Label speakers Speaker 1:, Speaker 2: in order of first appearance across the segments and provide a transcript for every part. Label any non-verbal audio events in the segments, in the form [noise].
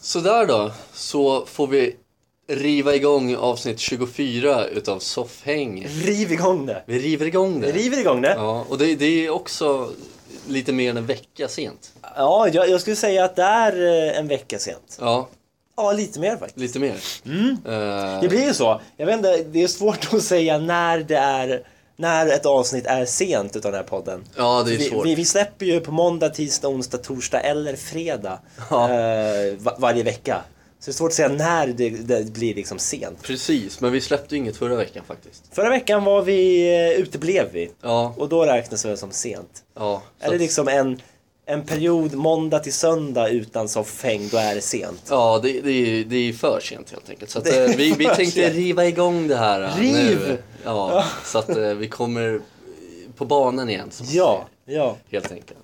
Speaker 1: Sådär då, så får vi riva igång avsnitt 24 utav Soffhäng.
Speaker 2: Riv igång det!
Speaker 1: Vi river igång det.
Speaker 2: Vi river igång det.
Speaker 1: Ja, och det, det är också lite mer än en vecka sent.
Speaker 2: Ja, jag, jag skulle säga att det är eh, en vecka sent.
Speaker 1: Ja,
Speaker 2: Ja, lite mer faktiskt.
Speaker 1: lite mer.
Speaker 2: Mm.
Speaker 1: Eh,
Speaker 2: Det blir ju så. Jag vet inte, det är svårt att säga när det är när ett avsnitt är sent utav den här podden.
Speaker 1: ja, det är
Speaker 2: Vi,
Speaker 1: svårt.
Speaker 2: vi, vi släpper ju på måndag, tisdag, onsdag, torsdag eller fredag
Speaker 1: Ja.
Speaker 2: eh, va- varje vecka. Så det är svårt att säga när det, det blir liksom sent.
Speaker 1: Precis, men vi släppte ju inget förra veckan faktiskt.
Speaker 2: Förra veckan var vi, eh, uteblev vi
Speaker 1: Ja,
Speaker 2: och då räknas det som sent.
Speaker 1: ja. så
Speaker 2: Är det
Speaker 1: att-
Speaker 2: liksom en, en period måndag till söndag utan soffhäng, då är det sent.
Speaker 1: Ja, det, det, är, det är för sent helt enkelt. Så att,
Speaker 2: Det är
Speaker 1: eh, vi, vi
Speaker 2: för
Speaker 1: tänkte
Speaker 2: sent.
Speaker 1: riva igång det här eh, nu.
Speaker 2: Riv!
Speaker 1: Ja, så att eh, vi kommer på banan igen. som man
Speaker 2: Ja, ja.
Speaker 1: säger, Helt enkelt.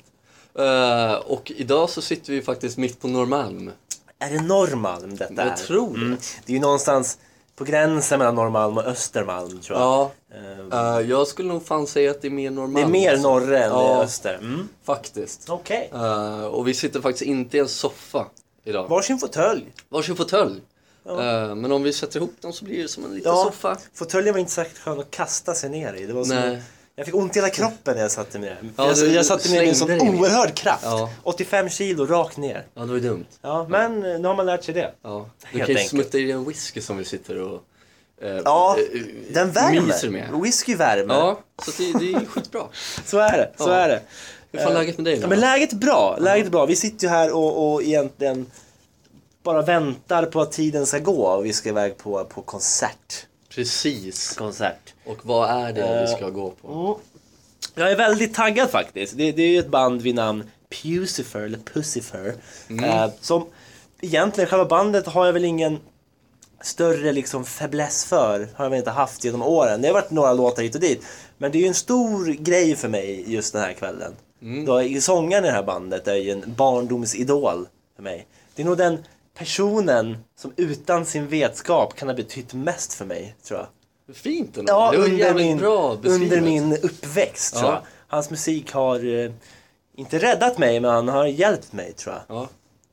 Speaker 1: Eh, och idag så sitter vi faktiskt mitt på Norrmalm.
Speaker 2: Är det Norrmalm detta
Speaker 1: Jag
Speaker 2: är? Mm.
Speaker 1: tror det.
Speaker 2: Det är ju någonstans på gränsen mellan Norrmalm och Östermalm tror jag.
Speaker 1: Ja,
Speaker 2: Eh,
Speaker 1: eh, jag skulle nog fan säga att det är mer Norrmalm.
Speaker 2: Det är mer
Speaker 1: alltså.
Speaker 2: norre än det
Speaker 1: Ja.
Speaker 2: är öster. Mm.
Speaker 1: Faktiskt.
Speaker 2: Okej.
Speaker 1: Eh, och vi sitter faktiskt inte i en soffa idag.
Speaker 2: Varsin fåtölj.
Speaker 1: Varsin fåtölj. Eh, men om vi sätter ihop dem så blir det som en liten
Speaker 2: Ja.
Speaker 1: soffa.
Speaker 2: Alltså, Fåtöljen var inte särskilt skön att kasta sig ner i. Det var som...
Speaker 1: Nej.
Speaker 2: Jag fick ont i hela kroppen när jag satte mig ner.
Speaker 1: Ja,
Speaker 2: jag,
Speaker 1: du-
Speaker 2: jag satte mig ner med en sån
Speaker 1: slängde dig ner.
Speaker 2: oerhörd kraft.
Speaker 1: Ja.
Speaker 2: 85 kilo rakt ner.
Speaker 1: Ja, det var ju dumt.
Speaker 2: Ja, men eh, nu har man lärt sig det.
Speaker 1: Ja, du
Speaker 2: Helt
Speaker 1: kan ju
Speaker 2: enkelt.
Speaker 1: smutta i dig en whisky som vi sitter och eh,
Speaker 2: Ja,
Speaker 1: eh,
Speaker 2: den värmer. Oh.
Speaker 1: myser med.
Speaker 2: Whisky värmer.
Speaker 1: Ja, så att det, det är skitbra.
Speaker 2: Så är det. Så
Speaker 1: Ja.
Speaker 2: är det.
Speaker 1: Hur fan är läget med dig
Speaker 2: Eh. Ja,
Speaker 1: då?
Speaker 2: men läget är bra, läget är bra. Vi sitter ju här och, och egentligen bara väntar på att tiden ska gå och vi ska iväg på, på konsert.
Speaker 1: Precis.
Speaker 2: Konsert.
Speaker 1: Och vad är det vi
Speaker 2: Eh.
Speaker 1: ska gå på?
Speaker 2: Jag är väldigt taggad faktiskt. Det, det är ju ett band vid namn Pucifer, eller Pucifer. Eh, som egentligen, själva bandet har jag väl ingen större liksom fäbless för. Har jag väl inte haft genom åren. Det har varit några låtar hit och dit. Men det är ju en stor grej för mig just den här kvällen. Då, i- sångaren i det här bandet är ju en barndomsidol för mig. Det är nog den personen som utan sin vetskap kan ha betytt mest för mig, tror jag.
Speaker 1: Fint ändå.
Speaker 2: Ja,
Speaker 1: det var
Speaker 2: under
Speaker 1: jävligt
Speaker 2: min,
Speaker 1: bra beskrivet.
Speaker 2: under min uppväxt tror
Speaker 1: Ja.
Speaker 2: jag. Hans musik har eh, inte räddat mig, men han har hjälpt mig tror jag.
Speaker 1: Ja,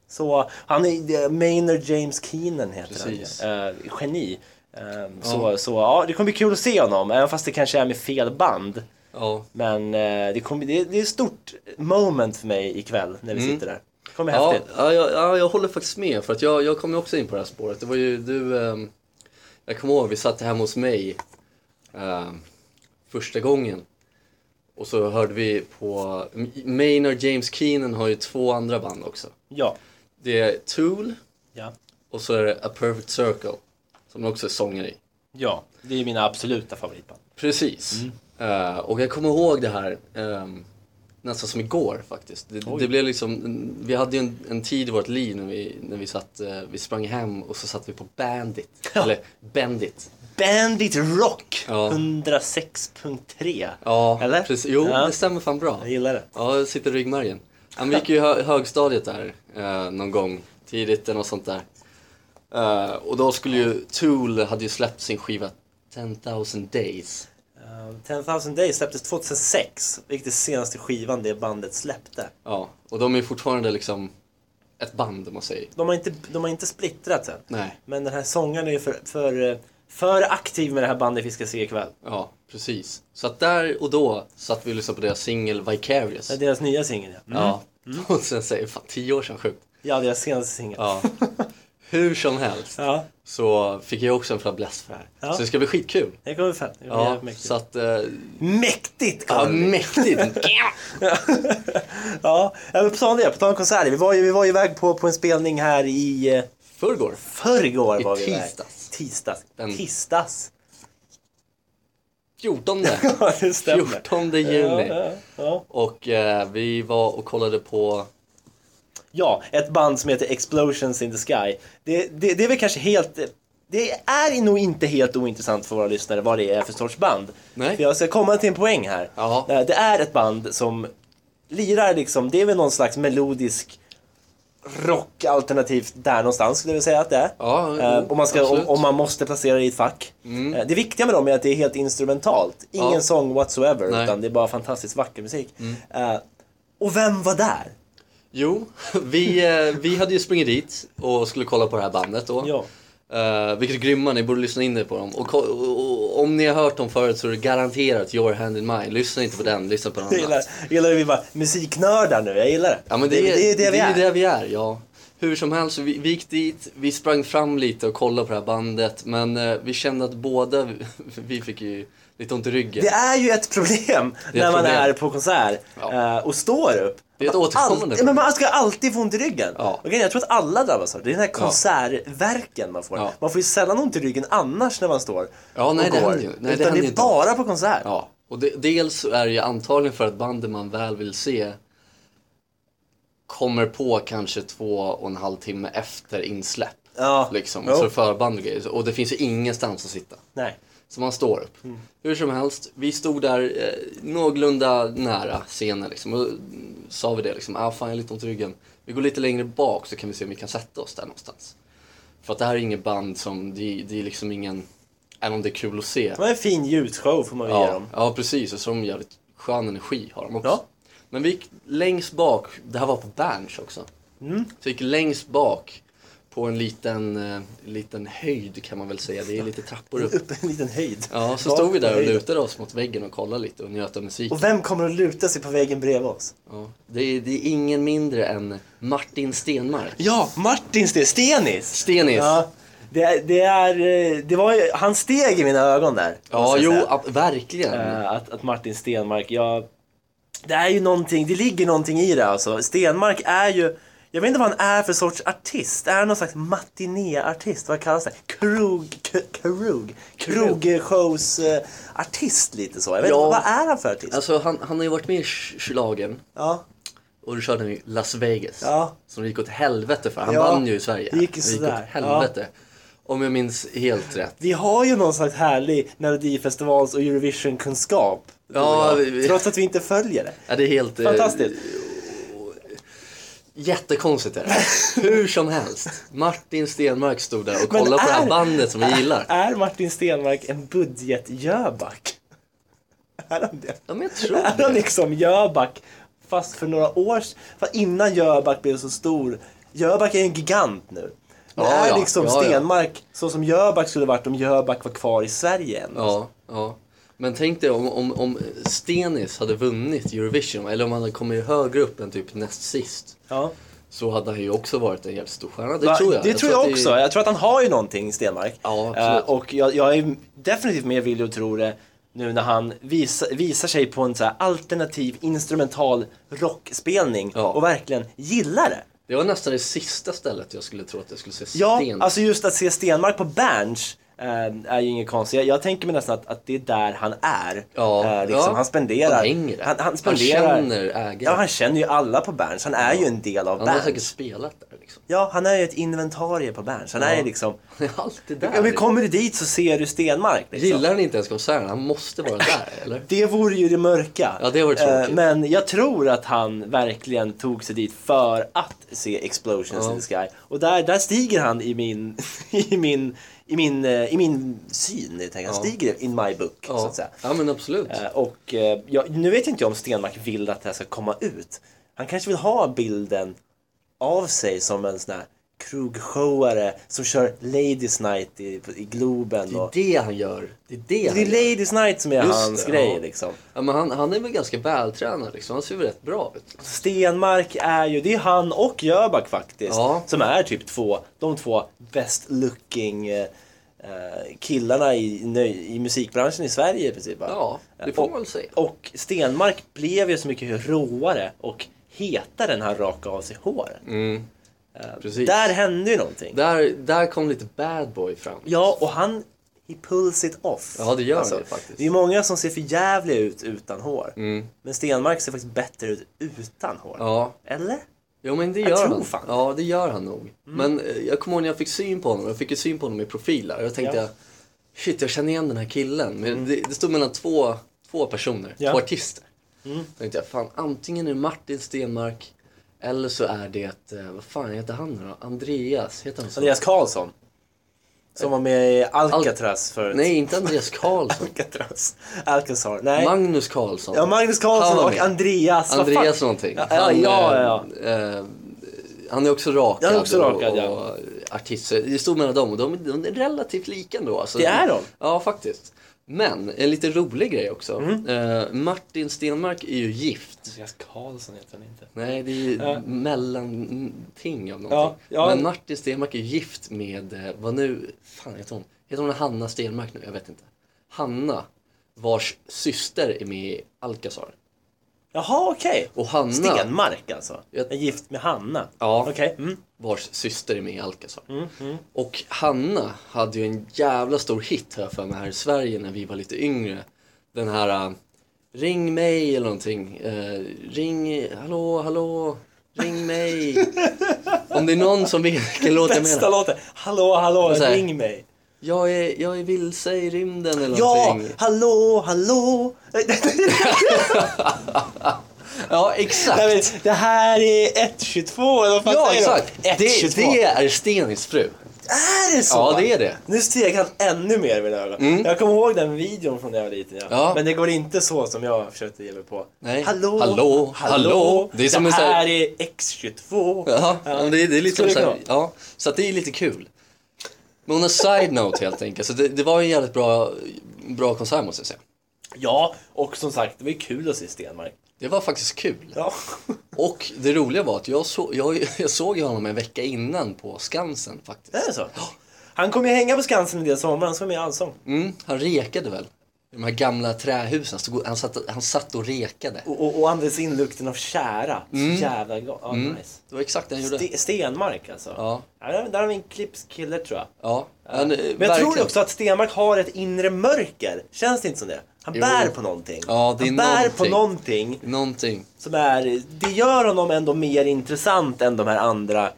Speaker 2: Så han är eh, Maynard James Keenan heter
Speaker 1: Precis.
Speaker 2: han ju. eh, Geni. Eh, Så, så ja, det kommer bli kul att se honom, även fast det kanske är med fel band.
Speaker 1: ja.
Speaker 2: Men eh, det, kommer, det, det är ett stort moment för mig ikväll när vi sitter där. Det kommer bli
Speaker 1: Ja,
Speaker 2: häftigt.
Speaker 1: ja, jag- ja, jag håller faktiskt med. För att jag, jag kom ju också in på det här spåret. Det var ju du... ehm, jag kommer ihåg, vi satt hemma hos mig ehm, första gången. Och så hörde vi på... Maynard James Keenan har ju två andra band också.
Speaker 2: Ja.
Speaker 1: Det är Tool
Speaker 2: Ja.
Speaker 1: och så är det A Perfect Circle som de också är sångare i.
Speaker 2: ja, det är mina absoluta favoritband.
Speaker 1: Precis.
Speaker 2: Mm.
Speaker 1: Eh, och jag kommer ihåg det här ehm, nästan som igår faktiskt. Det, det blev liksom, vi hade ju en, en tid i vårt liv när vi, när vi satt, eh, vi sprang hem och så satt vi på Bandit. Eller Bendit.
Speaker 2: Bandit Rock
Speaker 1: Ja.
Speaker 2: 106.3.
Speaker 1: Ja,
Speaker 2: Eller?
Speaker 1: Precis. Jo,
Speaker 2: Ja.
Speaker 1: det stämmer fan bra.
Speaker 2: Jag gillar det.
Speaker 1: Ja, jag sitter i ryggmärgen. Han gick ju i hö- högstadiet där eh, någon gång tidigt eller något sånt där. Eh, och då skulle ju Tool hade ju släppt sin skiva 10,000 Days.
Speaker 2: Uh, 10,000 Days släpptes 2006, vilket är senaste skivan det bandet släppte.
Speaker 1: Ja, och de är fortfarande liksom ett band om man säger.
Speaker 2: De har inte, de har inte splittrat än.
Speaker 1: Nej,
Speaker 2: Men den här sångaren är ju för, för, eh, för aktiv med det här bandet vi ska se ikväll.
Speaker 1: ja precis. Så att där och då satt vi och lyssnade på deras singel Vicarious.
Speaker 2: Det Mm. är deras nya singel ja.
Speaker 1: Ja, [laughs] och sen säger fan tio år sedan sjukt.
Speaker 2: Ja, deras senaste singel.
Speaker 1: Ja. Hur som helst
Speaker 2: Ja,
Speaker 1: så fick jag också en fäbless för det här.
Speaker 2: Ja.
Speaker 1: Så det ska bli skitkul.
Speaker 2: det kommer bli fett. Det kommer
Speaker 1: Ja,
Speaker 2: bli jävligt mäktigt.
Speaker 1: så att eh,
Speaker 2: Mäktigt
Speaker 1: Ja,
Speaker 2: kommer det bli.
Speaker 1: mäktigt!
Speaker 2: Ja, ja, men på tal om det, på tal om konserter. Vi var ju, vi var ju iväg på, på en spelning här i eh,
Speaker 1: Förrgår.
Speaker 2: förrgår.
Speaker 1: I
Speaker 2: var vi iväg.
Speaker 1: tisdags.
Speaker 2: Tisdags.
Speaker 1: Den-
Speaker 2: Tisdags. [laughs]
Speaker 1: 14.
Speaker 2: Ja, det stämmer.
Speaker 1: 14 juni.
Speaker 2: Ja, ja.
Speaker 1: Och eh, vi var och kollade på...
Speaker 2: Ja, ett band som heter Explosions in the Sky. Det, det, det är väl kanske helt... Det är nog inte helt ointressant för våra lyssnare vad det är för sorts band.
Speaker 1: Nej.
Speaker 2: För jag ska komma till en poäng här.
Speaker 1: Ja.
Speaker 2: Eh, Det är ett band som lirar liksom, det är väl någon slags melodisk rock alternativt där någonstans skulle jag vilja säga att det är.
Speaker 1: Ja, jo,
Speaker 2: Eh, om, man ska, om,
Speaker 1: absolut. Mm.
Speaker 2: om man måste placera det i ett fack. Eh, Det viktiga med dem är att det är helt instrumentalt. Ingen
Speaker 1: Ja.
Speaker 2: sång whatsoever
Speaker 1: Nej. Mm.
Speaker 2: utan det är bara fantastiskt vacker musik. Eh, och vem var där?
Speaker 1: Jo, [laughs] vi, eh, vi hade ju sprungit dit och skulle kolla på det här bandet då.
Speaker 2: Ja.
Speaker 1: Eh, vilket är grymma, ni borde lyssna in er på dem. Och, ko- och, och om ni har hört dem förut så är det garanterat Your Hand In Mine. Lyssna inte på den, lyssna på någon
Speaker 2: Jag
Speaker 1: annan.
Speaker 2: gillar, jag gillar hur vi bara musiknördar nu, jag gillar det.
Speaker 1: Ja men det, är,
Speaker 2: det, det vi är.
Speaker 1: ju det vi är, ja. Hur som helst, vi, vi gick dit, vi sprang fram lite och kollade på det här bandet men eh, vi kände att båda, [laughs] vi fick ju lite ont i ryggen.
Speaker 2: Det är ju ett problem
Speaker 1: är ett
Speaker 2: när man
Speaker 1: problem.
Speaker 2: är på konsert
Speaker 1: Ja.
Speaker 2: eh, och står upp.
Speaker 1: Det är ett
Speaker 2: Man
Speaker 1: återkommande
Speaker 2: alltid-
Speaker 1: problem.
Speaker 2: Men man ska alltid få ont i ryggen.
Speaker 1: Ja.
Speaker 2: Och grejen är, jag tror att alla drabbas av det. Det är den här konsertverken man får.
Speaker 1: Ja.
Speaker 2: Man får ju sällan ont i ryggen annars när man står
Speaker 1: Ja, nej,
Speaker 2: och
Speaker 1: det
Speaker 2: går.
Speaker 1: händer ju. Nej, det
Speaker 2: Utan
Speaker 1: händer
Speaker 2: det är
Speaker 1: inte.
Speaker 2: bara på konsert.
Speaker 1: Ja, och de, dels så är det ju antagligen för att bandet man väl vill se kommer på kanske två och en halv timme efter insläpp.
Speaker 2: Ja.
Speaker 1: Liksom,
Speaker 2: Jo.
Speaker 1: så förband och grejer. Och det finns ju ingenstans att sitta.
Speaker 2: Nej.
Speaker 1: Så man står upp.
Speaker 2: Mm.
Speaker 1: Hur som helst, vi stod där eh, någorlunda nära scenen liksom. Och mm, sa vi det liksom, ah fan jag har lite ont i ryggen. Vi går lite längre bak så kan vi se om vi kan sätta oss där någonstans. För att det här är ingen band som, det, det är liksom ingen, även om det är kul att se.
Speaker 2: Det var en fin ljusshow får man väl ge
Speaker 1: Ja,
Speaker 2: dem.
Speaker 1: ja precis, och så har de jävligt skön energi har de också.
Speaker 2: Ja.
Speaker 1: Men vi gick längst bak, det här var på Berns också.
Speaker 2: Mm.
Speaker 1: Så vi gick längst bak på en liten, eh, liten höjd kan man väl säga, det är lite trappor
Speaker 2: [laughs]
Speaker 1: upp.
Speaker 2: Upp en liten höjd.
Speaker 1: Ja, så
Speaker 2: Bak
Speaker 1: stod vi
Speaker 2: på
Speaker 1: där och
Speaker 2: höjden.
Speaker 1: lutade oss mot väggen och kollade lite och njöt av musiken.
Speaker 2: Och vem kommer att luta sig på vägen bredvid oss?
Speaker 1: Ja. Det, är, det är ingen mindre än Martin Stenmark.
Speaker 2: Ja, Martin Sten, Stenis!
Speaker 1: Stenis! Ja,
Speaker 2: Ja, det, det, är, eh, det var ju, han steg i mina ögon där. måste jag
Speaker 1: jo,
Speaker 2: säga.
Speaker 1: ab- verkligen.
Speaker 2: Eh, att, att Martin Stenmark, ja, det är ju någonting, det ligger någonting i det alltså. Stenmark är ju, jag vet inte vad han är för sorts artist. Är han någon slags matinéartist? Vad kallas det? Krog, k- krog, krogshows-artist lite så. Jag vet
Speaker 1: Ja.
Speaker 2: inte, vad är han för artist?
Speaker 1: Alltså, han, han har ju varit med i Sch- Schlagern
Speaker 2: ja,
Speaker 1: och då körde han i Las Vegas.
Speaker 2: Ja.
Speaker 1: Som det gick åt helvete för. Han
Speaker 2: Ja,
Speaker 1: vann ju i Sverige.
Speaker 2: det gick ju
Speaker 1: åt
Speaker 2: sådär.
Speaker 1: helvete. Om jag minns helt rätt.
Speaker 2: vi har ju någon slags härlig melodifestivals och Eurovision-kunskap. du och
Speaker 1: Ja,
Speaker 2: jag,
Speaker 1: vi- vi-
Speaker 2: Trots att vi inte följer det.
Speaker 1: Ja, det är helt... eh,
Speaker 2: Fantastiskt.
Speaker 1: Jättekonstigt är
Speaker 2: [laughs]
Speaker 1: det. Hur som helst. Martin Stenmark stod där och
Speaker 2: Men
Speaker 1: kollade på det här
Speaker 2: är-
Speaker 1: bandet som vi gillar.
Speaker 2: Är Martin Stenmark en budgetjöback? Är han det?
Speaker 1: Ja, men jag tror
Speaker 2: Är han
Speaker 1: det.
Speaker 2: liksom Jöback fast för några år s- fast innan Jöback blev så stor? Jöback är ju en gigant nu. Men
Speaker 1: Ja,
Speaker 2: är
Speaker 1: ja,
Speaker 2: liksom
Speaker 1: ja, ja.
Speaker 2: Stenmark så som Jöback skulle varit om Jöback var kvar i Sverige än?
Speaker 1: Ja, ja. Men tänk dig om, om, om Stenis hade vunnit Eurovision, eller om han hade kommit högre upp än typ näst sist,
Speaker 2: Ja.
Speaker 1: så hade han ju också varit en jävligt stor stjärna. Det
Speaker 2: Va-
Speaker 1: tror jag.
Speaker 2: Det tror jag
Speaker 1: att
Speaker 2: också. Jag tror att han har ju någonting, Stenmark.
Speaker 1: Ja, absolut.
Speaker 2: Eh, och jag, jag är definitivt mer villig att tro det nu när han visa, visar sig på en så här alternativ instrumental rockspelning
Speaker 1: Ja.
Speaker 2: och verkligen gillar det.
Speaker 1: Det var nästan det sista stället jag skulle tro att jag skulle se
Speaker 2: Ja,
Speaker 1: Sten.
Speaker 2: alltså just att se Stenmark på Berns eh, är ju inget konstigt. Jag, jag tänker mig nästan att, att det är där han är.
Speaker 1: Ja,
Speaker 2: Eh,
Speaker 1: ja.
Speaker 2: liksom, han spenderar.
Speaker 1: Han hänger där.
Speaker 2: han, han
Speaker 1: Han
Speaker 2: spenderar.
Speaker 1: känner ägaren.
Speaker 2: Ja, han känner ju alla på Berns. Han är ju en del av
Speaker 1: han har
Speaker 2: Berns.
Speaker 1: säkert spelat där liksom. [laughs]
Speaker 2: Ja, han är ju ett inventarie på Berns. Han är ju liksom...
Speaker 1: Han är alltid där.
Speaker 2: Ja, men kommer du dit så ser du Stenmark. Liksom.
Speaker 1: Gillar han inte ens konserten? Han måste vara
Speaker 2: [laughs]
Speaker 1: där, eller?
Speaker 2: Det vore ju det mörka.
Speaker 1: Ja, det vore tråkigt.
Speaker 2: Eh, Men jag tror att han verkligen tog sig dit för att se Explosions
Speaker 1: Ja.
Speaker 2: in the Sky. Och där, där stiger han i min, [laughs] i min, i min, eh, i min syn. Jag tänker. Han stiger in my book, så
Speaker 1: Ja,
Speaker 2: att säga.
Speaker 1: ja men absolut.
Speaker 2: Eh, Och eh, jag, nu vet jag inte om Stenmark vill att det här ska komma ut. Han kanske vill ha bilden av sig som en sån här krogshoware som kör Ladies Night i, i Globen.
Speaker 1: Det är
Speaker 2: och,
Speaker 1: det han gör. Det är det han
Speaker 2: det är
Speaker 1: gör.
Speaker 2: Ladies Night som är
Speaker 1: Just
Speaker 2: hans
Speaker 1: det,
Speaker 2: grej
Speaker 1: ja.
Speaker 2: liksom.
Speaker 1: Ja, men han, han är väl ganska vältränad liksom. Han ser väl rätt bra ut.
Speaker 2: Stenmark är ju, det är han och Jöback faktiskt.
Speaker 1: Ja.
Speaker 2: Som är typ två, de två best looking eh, eh, killarna i, nöj- i musikbranschen i Sverige i princip. va?
Speaker 1: Ja, det får
Speaker 2: och,
Speaker 1: man väl säga.
Speaker 2: Och Stenmark blev ju så mycket råare och hetare när han rakade av sig håret.
Speaker 1: Mm. Precis.
Speaker 2: Där hände ju någonting.
Speaker 1: Där, där kom lite bad boy fram.
Speaker 2: Ja, och han, he pulls it off. Alltså,
Speaker 1: Ja, det gör han ju faktiskt. Mm.
Speaker 2: Det är många som ser för jävliga ut utan hår. Men Stenmark ser faktiskt bättre ut utan hår.
Speaker 1: Ja,
Speaker 2: Eller?
Speaker 1: jo, men det gör
Speaker 2: tror
Speaker 1: han.
Speaker 2: fan. Mm.
Speaker 1: Ja, det gör han nog. Men eh, jag kommer ihåg när jag fick syn på honom. Jag fick ju syn på honom i profiler. Jag tänkte,
Speaker 2: Ja. Mm.
Speaker 1: jag, shit, jag känner igen den här killen. Men det, det stod mellan två, två personer,
Speaker 2: Ja. Mm.
Speaker 1: två artister. Då tänkte jag, fan, antingen är det Martin Stenmark eller så är det, eh, vad fan heter han nu då? Andreas, heter han så?
Speaker 2: Andreas Karlsson. Som var med i Alcatraz förut.
Speaker 1: Nej, inte
Speaker 2: [laughs]
Speaker 1: Andreas Karlsson.
Speaker 2: Alcatraz. Alcazar. Nej.
Speaker 1: Magnus Karlsson.
Speaker 2: ja, Magnus Karlsson
Speaker 1: Han var
Speaker 2: och
Speaker 1: med.
Speaker 2: Andreas. vad fan?
Speaker 1: Andreas någonting.
Speaker 2: Ja, ja, ja, ja.
Speaker 1: eh, eh, han är också rakad.
Speaker 2: Han är också rakad,
Speaker 1: och,
Speaker 2: ja.
Speaker 1: och artist. Så Det stod mellan dem och de, de är relativt lika ändå. Alltså,
Speaker 2: Det är de.
Speaker 1: Ja, faktiskt. Men en lite rolig grej också.
Speaker 2: Mm.
Speaker 1: Eh, Martin Stenmark är ju gift.
Speaker 2: Andreas Karlsson heter han inte.
Speaker 1: Nej, det är ju
Speaker 2: Ja.
Speaker 1: mellanting av någonting.
Speaker 2: Ja, ja.
Speaker 1: Men Martin Stenmark är gift med, eh, vad nu, fan heter hon? Heter hon Hanna Stenmark nu? Jag vet inte. Hanna, vars syster är med i Alcazar.
Speaker 2: Jaha, okej.
Speaker 1: Och Hanna,
Speaker 2: Stenmark alltså.
Speaker 1: Jag-
Speaker 2: Är gift med Hanna.
Speaker 1: Ja.
Speaker 2: Okej. Mm.
Speaker 1: vars syster är med i Alcazar. Och Hanna hade ju en jävla stor hit här för mig här i Sverige när vi var lite yngre. Den här, eh, ring mig eller någonting. Eh, ring, hallå, hallå, ring mig.
Speaker 2: [laughs]
Speaker 1: Om det är någon som vet vilken låt jag menar.
Speaker 2: Bästa låten. Hallå, hallå,
Speaker 1: Och så här.
Speaker 2: ring mig.
Speaker 1: Jag är, jag är vilse i rymden eller
Speaker 2: Ja,
Speaker 1: någonting.
Speaker 2: hallå, hallå. [laughs]
Speaker 1: Ja, exakt.
Speaker 2: Nej, men, det här är 122 eller vad fan
Speaker 1: ja,
Speaker 2: säger de?
Speaker 1: exakt. Det,
Speaker 2: 122.
Speaker 1: det är Stenis fru.
Speaker 2: Är det så?
Speaker 1: Ja, det är det. Mm.
Speaker 2: Nu steg han ännu mer i mina ögon. Jag kommer ihåg den videon från när jag var liten. Ja.
Speaker 1: Ja.
Speaker 2: Men det går inte så som jag försökte ge mig på.
Speaker 1: Nej.
Speaker 2: Hallå,
Speaker 1: Hallå, hallå.
Speaker 2: Det, är som det
Speaker 1: en så
Speaker 2: här,
Speaker 1: här-
Speaker 2: är X22.
Speaker 1: Ja, men det, det är lite
Speaker 2: Skulle
Speaker 1: så,
Speaker 2: det
Speaker 1: här,
Speaker 2: kunna
Speaker 1: ja, så att det är lite kul. Men on a side note helt enkelt, så det, det var en jävligt bra, bra konsert måste jag säga.
Speaker 2: Ja, och som sagt, det var ju kul att se Stenmark.
Speaker 1: Det var faktiskt kul.
Speaker 2: Ja. [laughs]
Speaker 1: Och det roliga var att jag, så, jag, jag såg ju honom en vecka innan på Skansen
Speaker 2: Det
Speaker 1: faktiskt.
Speaker 2: är så. Han kommer ju hänga på Skansen en del sommar, han ska vara med i Allsång.
Speaker 1: Mm, han rekade väl. I de här gamla trähusen, så han satt, han satt och rekade.
Speaker 2: Och, och, och andades in lukten av tjära. Så
Speaker 1: Mm.
Speaker 2: jävla gott. Ja, nice.
Speaker 1: Det var exakt det han gjorde.
Speaker 2: Ste- Stenmark alltså.
Speaker 1: Ja.
Speaker 2: där- där har vi en klippskille tror jag.
Speaker 1: Ja, eh, han,
Speaker 2: Men jag tror också att Stenmark har ett inre mörker. Känns det inte som det? Han
Speaker 1: Jo.
Speaker 2: bär på någonting.
Speaker 1: Ja, det är
Speaker 2: han bär på
Speaker 1: någonting.
Speaker 2: någonting
Speaker 1: Någonting.
Speaker 2: som är... Det gör honom ändå mer intressant än de här andra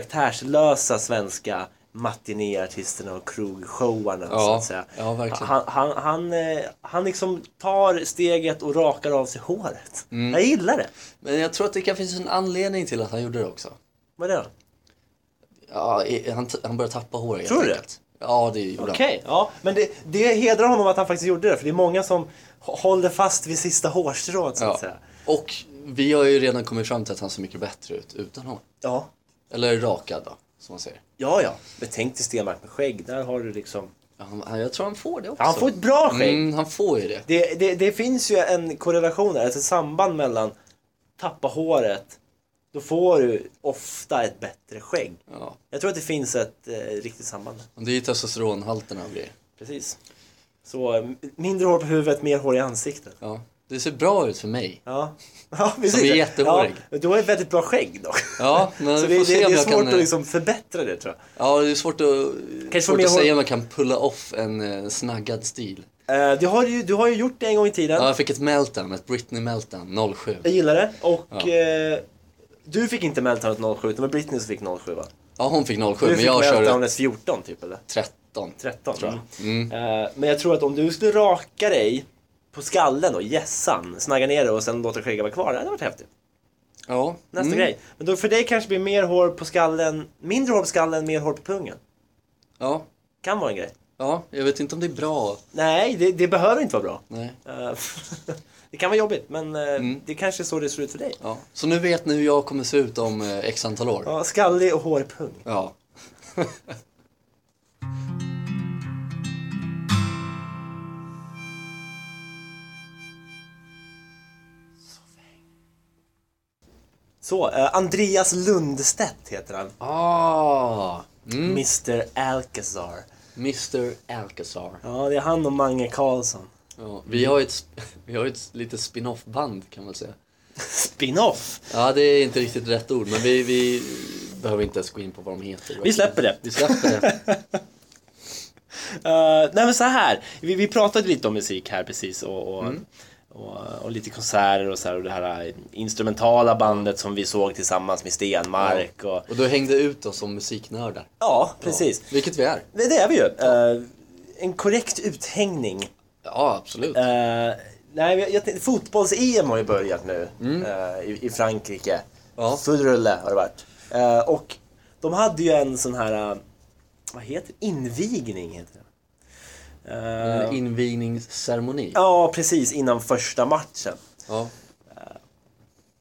Speaker 2: karaktärslösa svenska matinéartisterna och krogshowarna så
Speaker 1: Ja,
Speaker 2: att säga.
Speaker 1: ja, verkligen.
Speaker 2: Han, han, han, eh, han liksom tar steget och rakar av sig håret.
Speaker 1: Mm.
Speaker 2: Jag gillar det.
Speaker 1: Men jag tror att det kan finnas en anledning till att han gjorde det också.
Speaker 2: Vad är det då?
Speaker 1: Ja, i- han, t- han började tappa håret helt
Speaker 2: Tror du det?
Speaker 1: enkelt. Ja, det gjorde
Speaker 2: Okej, ja. Men det, det hedrar honom att han faktiskt gjorde det för det är många som hå- håller fast vid sista hårstrået så
Speaker 1: han.
Speaker 2: att
Speaker 1: Ja.
Speaker 2: säga.
Speaker 1: Och vi har ju redan kommit fram till att han ser mycket bättre ut utan honom.
Speaker 2: Ja,
Speaker 1: Eller rakad då, som man säger.
Speaker 2: Ja, ja. Men tänk dig Stenmark med skägg. Där har du liksom...
Speaker 1: Ja, Han, han- jag tror han får det också.
Speaker 2: Han får ett bra skägg.
Speaker 1: Mm, han får ju det.
Speaker 2: Det, det, det finns ju en korrelation, där, alltså ett samband mellan tappa håret, då får du ofta ett bättre skägg.
Speaker 1: Ja.
Speaker 2: Jag tror att det finns ett eh, riktigt samband.
Speaker 1: Och Det är ju testosteronhalterna och grejer.
Speaker 2: Precis. Så eh, mindre hår på huvudet, mer hår i ansiktet.
Speaker 1: Ja. Det ser bra ut för mig.
Speaker 2: Ja, [laughs] ja precis.
Speaker 1: är jättehårig.
Speaker 2: Ja, du har ett väldigt bra skägg dock.
Speaker 1: Ja, men
Speaker 2: Så
Speaker 1: vi
Speaker 2: det,
Speaker 1: får
Speaker 2: det,
Speaker 1: se
Speaker 2: det
Speaker 1: om
Speaker 2: är
Speaker 1: jag
Speaker 2: svårt
Speaker 1: kan... eh,
Speaker 2: att liksom förbättra det tror jag.
Speaker 1: Ja, det är svårt att,
Speaker 2: få
Speaker 1: svårt
Speaker 2: mer
Speaker 1: att
Speaker 2: hår-
Speaker 1: säga om jag kan pulla off en eh, snaggad stil.
Speaker 2: Eh, du, har ju, du har ju gjort det en gång i tiden.
Speaker 1: Ja, jag fick ett meltdown, ett Britney meltdown 07.
Speaker 2: Jag gillar det. Och eh, du fick inte meltdownet 07, det var Britney som fick 07 va?
Speaker 1: Ja, hon fick 07
Speaker 2: Du
Speaker 1: men
Speaker 2: fick
Speaker 1: jag körde
Speaker 2: meltdownet 14 typ eller?
Speaker 1: 13.
Speaker 2: 13
Speaker 1: Tror jag.
Speaker 2: Mm. Eh, men jag tror att om du skulle raka dig på skallen och gässan, snagga ner det och sen låta skägget vara kvar, det hade varit häftigt.
Speaker 1: Ja.
Speaker 2: Nästa
Speaker 1: mm.
Speaker 2: grej. Men då för dig kanske blir mer hår på skallen, mindre hår på skallen, mer hår på pungen.
Speaker 1: Ja.
Speaker 2: Kan vara en grej.
Speaker 1: ja, jag vet inte om det är bra.
Speaker 2: Nej, det, det behöver inte vara bra.
Speaker 1: Nej.
Speaker 2: Eh, [laughs] det kan vara jobbigt, men eh,
Speaker 1: Mm.
Speaker 2: det kanske är så det ser ut för dig.
Speaker 1: Ja. Så nu vet ni hur jag kommer se ut om eh, x antal år.
Speaker 2: Ja, skallig och hår i pung.
Speaker 1: Ja.
Speaker 2: Så, eh, Andreas Lundstedt heter han.
Speaker 1: Ah, mm.
Speaker 2: Mr Alcazar.
Speaker 1: Mr Alcazar.
Speaker 2: Ja, det är han och Mange Karlsson.
Speaker 1: Ja, vi har ju ett, sp- [laughs] vi har ju ett litet spin-off-band kan man säga.
Speaker 2: Spin-off!
Speaker 1: Ja, det är inte riktigt rätt ord, men vi, vi behöver inte ens gå in på vad de heter.
Speaker 2: Vi släpper det.
Speaker 1: Vi släpper
Speaker 2: [laughs]
Speaker 1: det.
Speaker 2: Eh, nej men så här, vi, vi pratade lite om musik här precis och, och,
Speaker 1: Mm.
Speaker 2: och, och lite konserter och så här och det här eh, instrumentala bandet som vi såg tillsammans med Stenmark och
Speaker 1: Och du hängde ut oss som musiknördar.
Speaker 2: Ja, precis.
Speaker 1: Ja, vilket vi är.
Speaker 2: Det, det är vi ju. Eh, en korrekt uthängning.
Speaker 1: Ja, absolut.
Speaker 2: Eh, nej, jag, jag, tänkte- fotbolls-EM har ju börjat nu eh, i, i Frankrike.
Speaker 1: Ja.
Speaker 2: Full rulle har det varit. Eh, och de hade ju en sån här vad heter det? Invigning heter det. Eh,
Speaker 1: En invigningsceremoni.
Speaker 2: ja, precis innan första matchen.
Speaker 1: Ja.